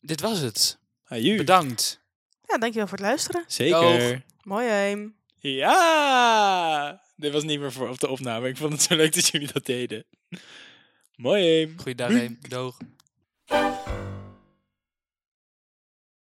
dit was het.
Aju.
Bedankt.
Ja, dankjewel voor het luisteren.
Zeker.
Mooi, hè.
Ja! Dit was niet meer voor op de opname. Ik vond het zo leuk dat jullie dat deden. Mooi.
Goeiedag, Reem. Doeg.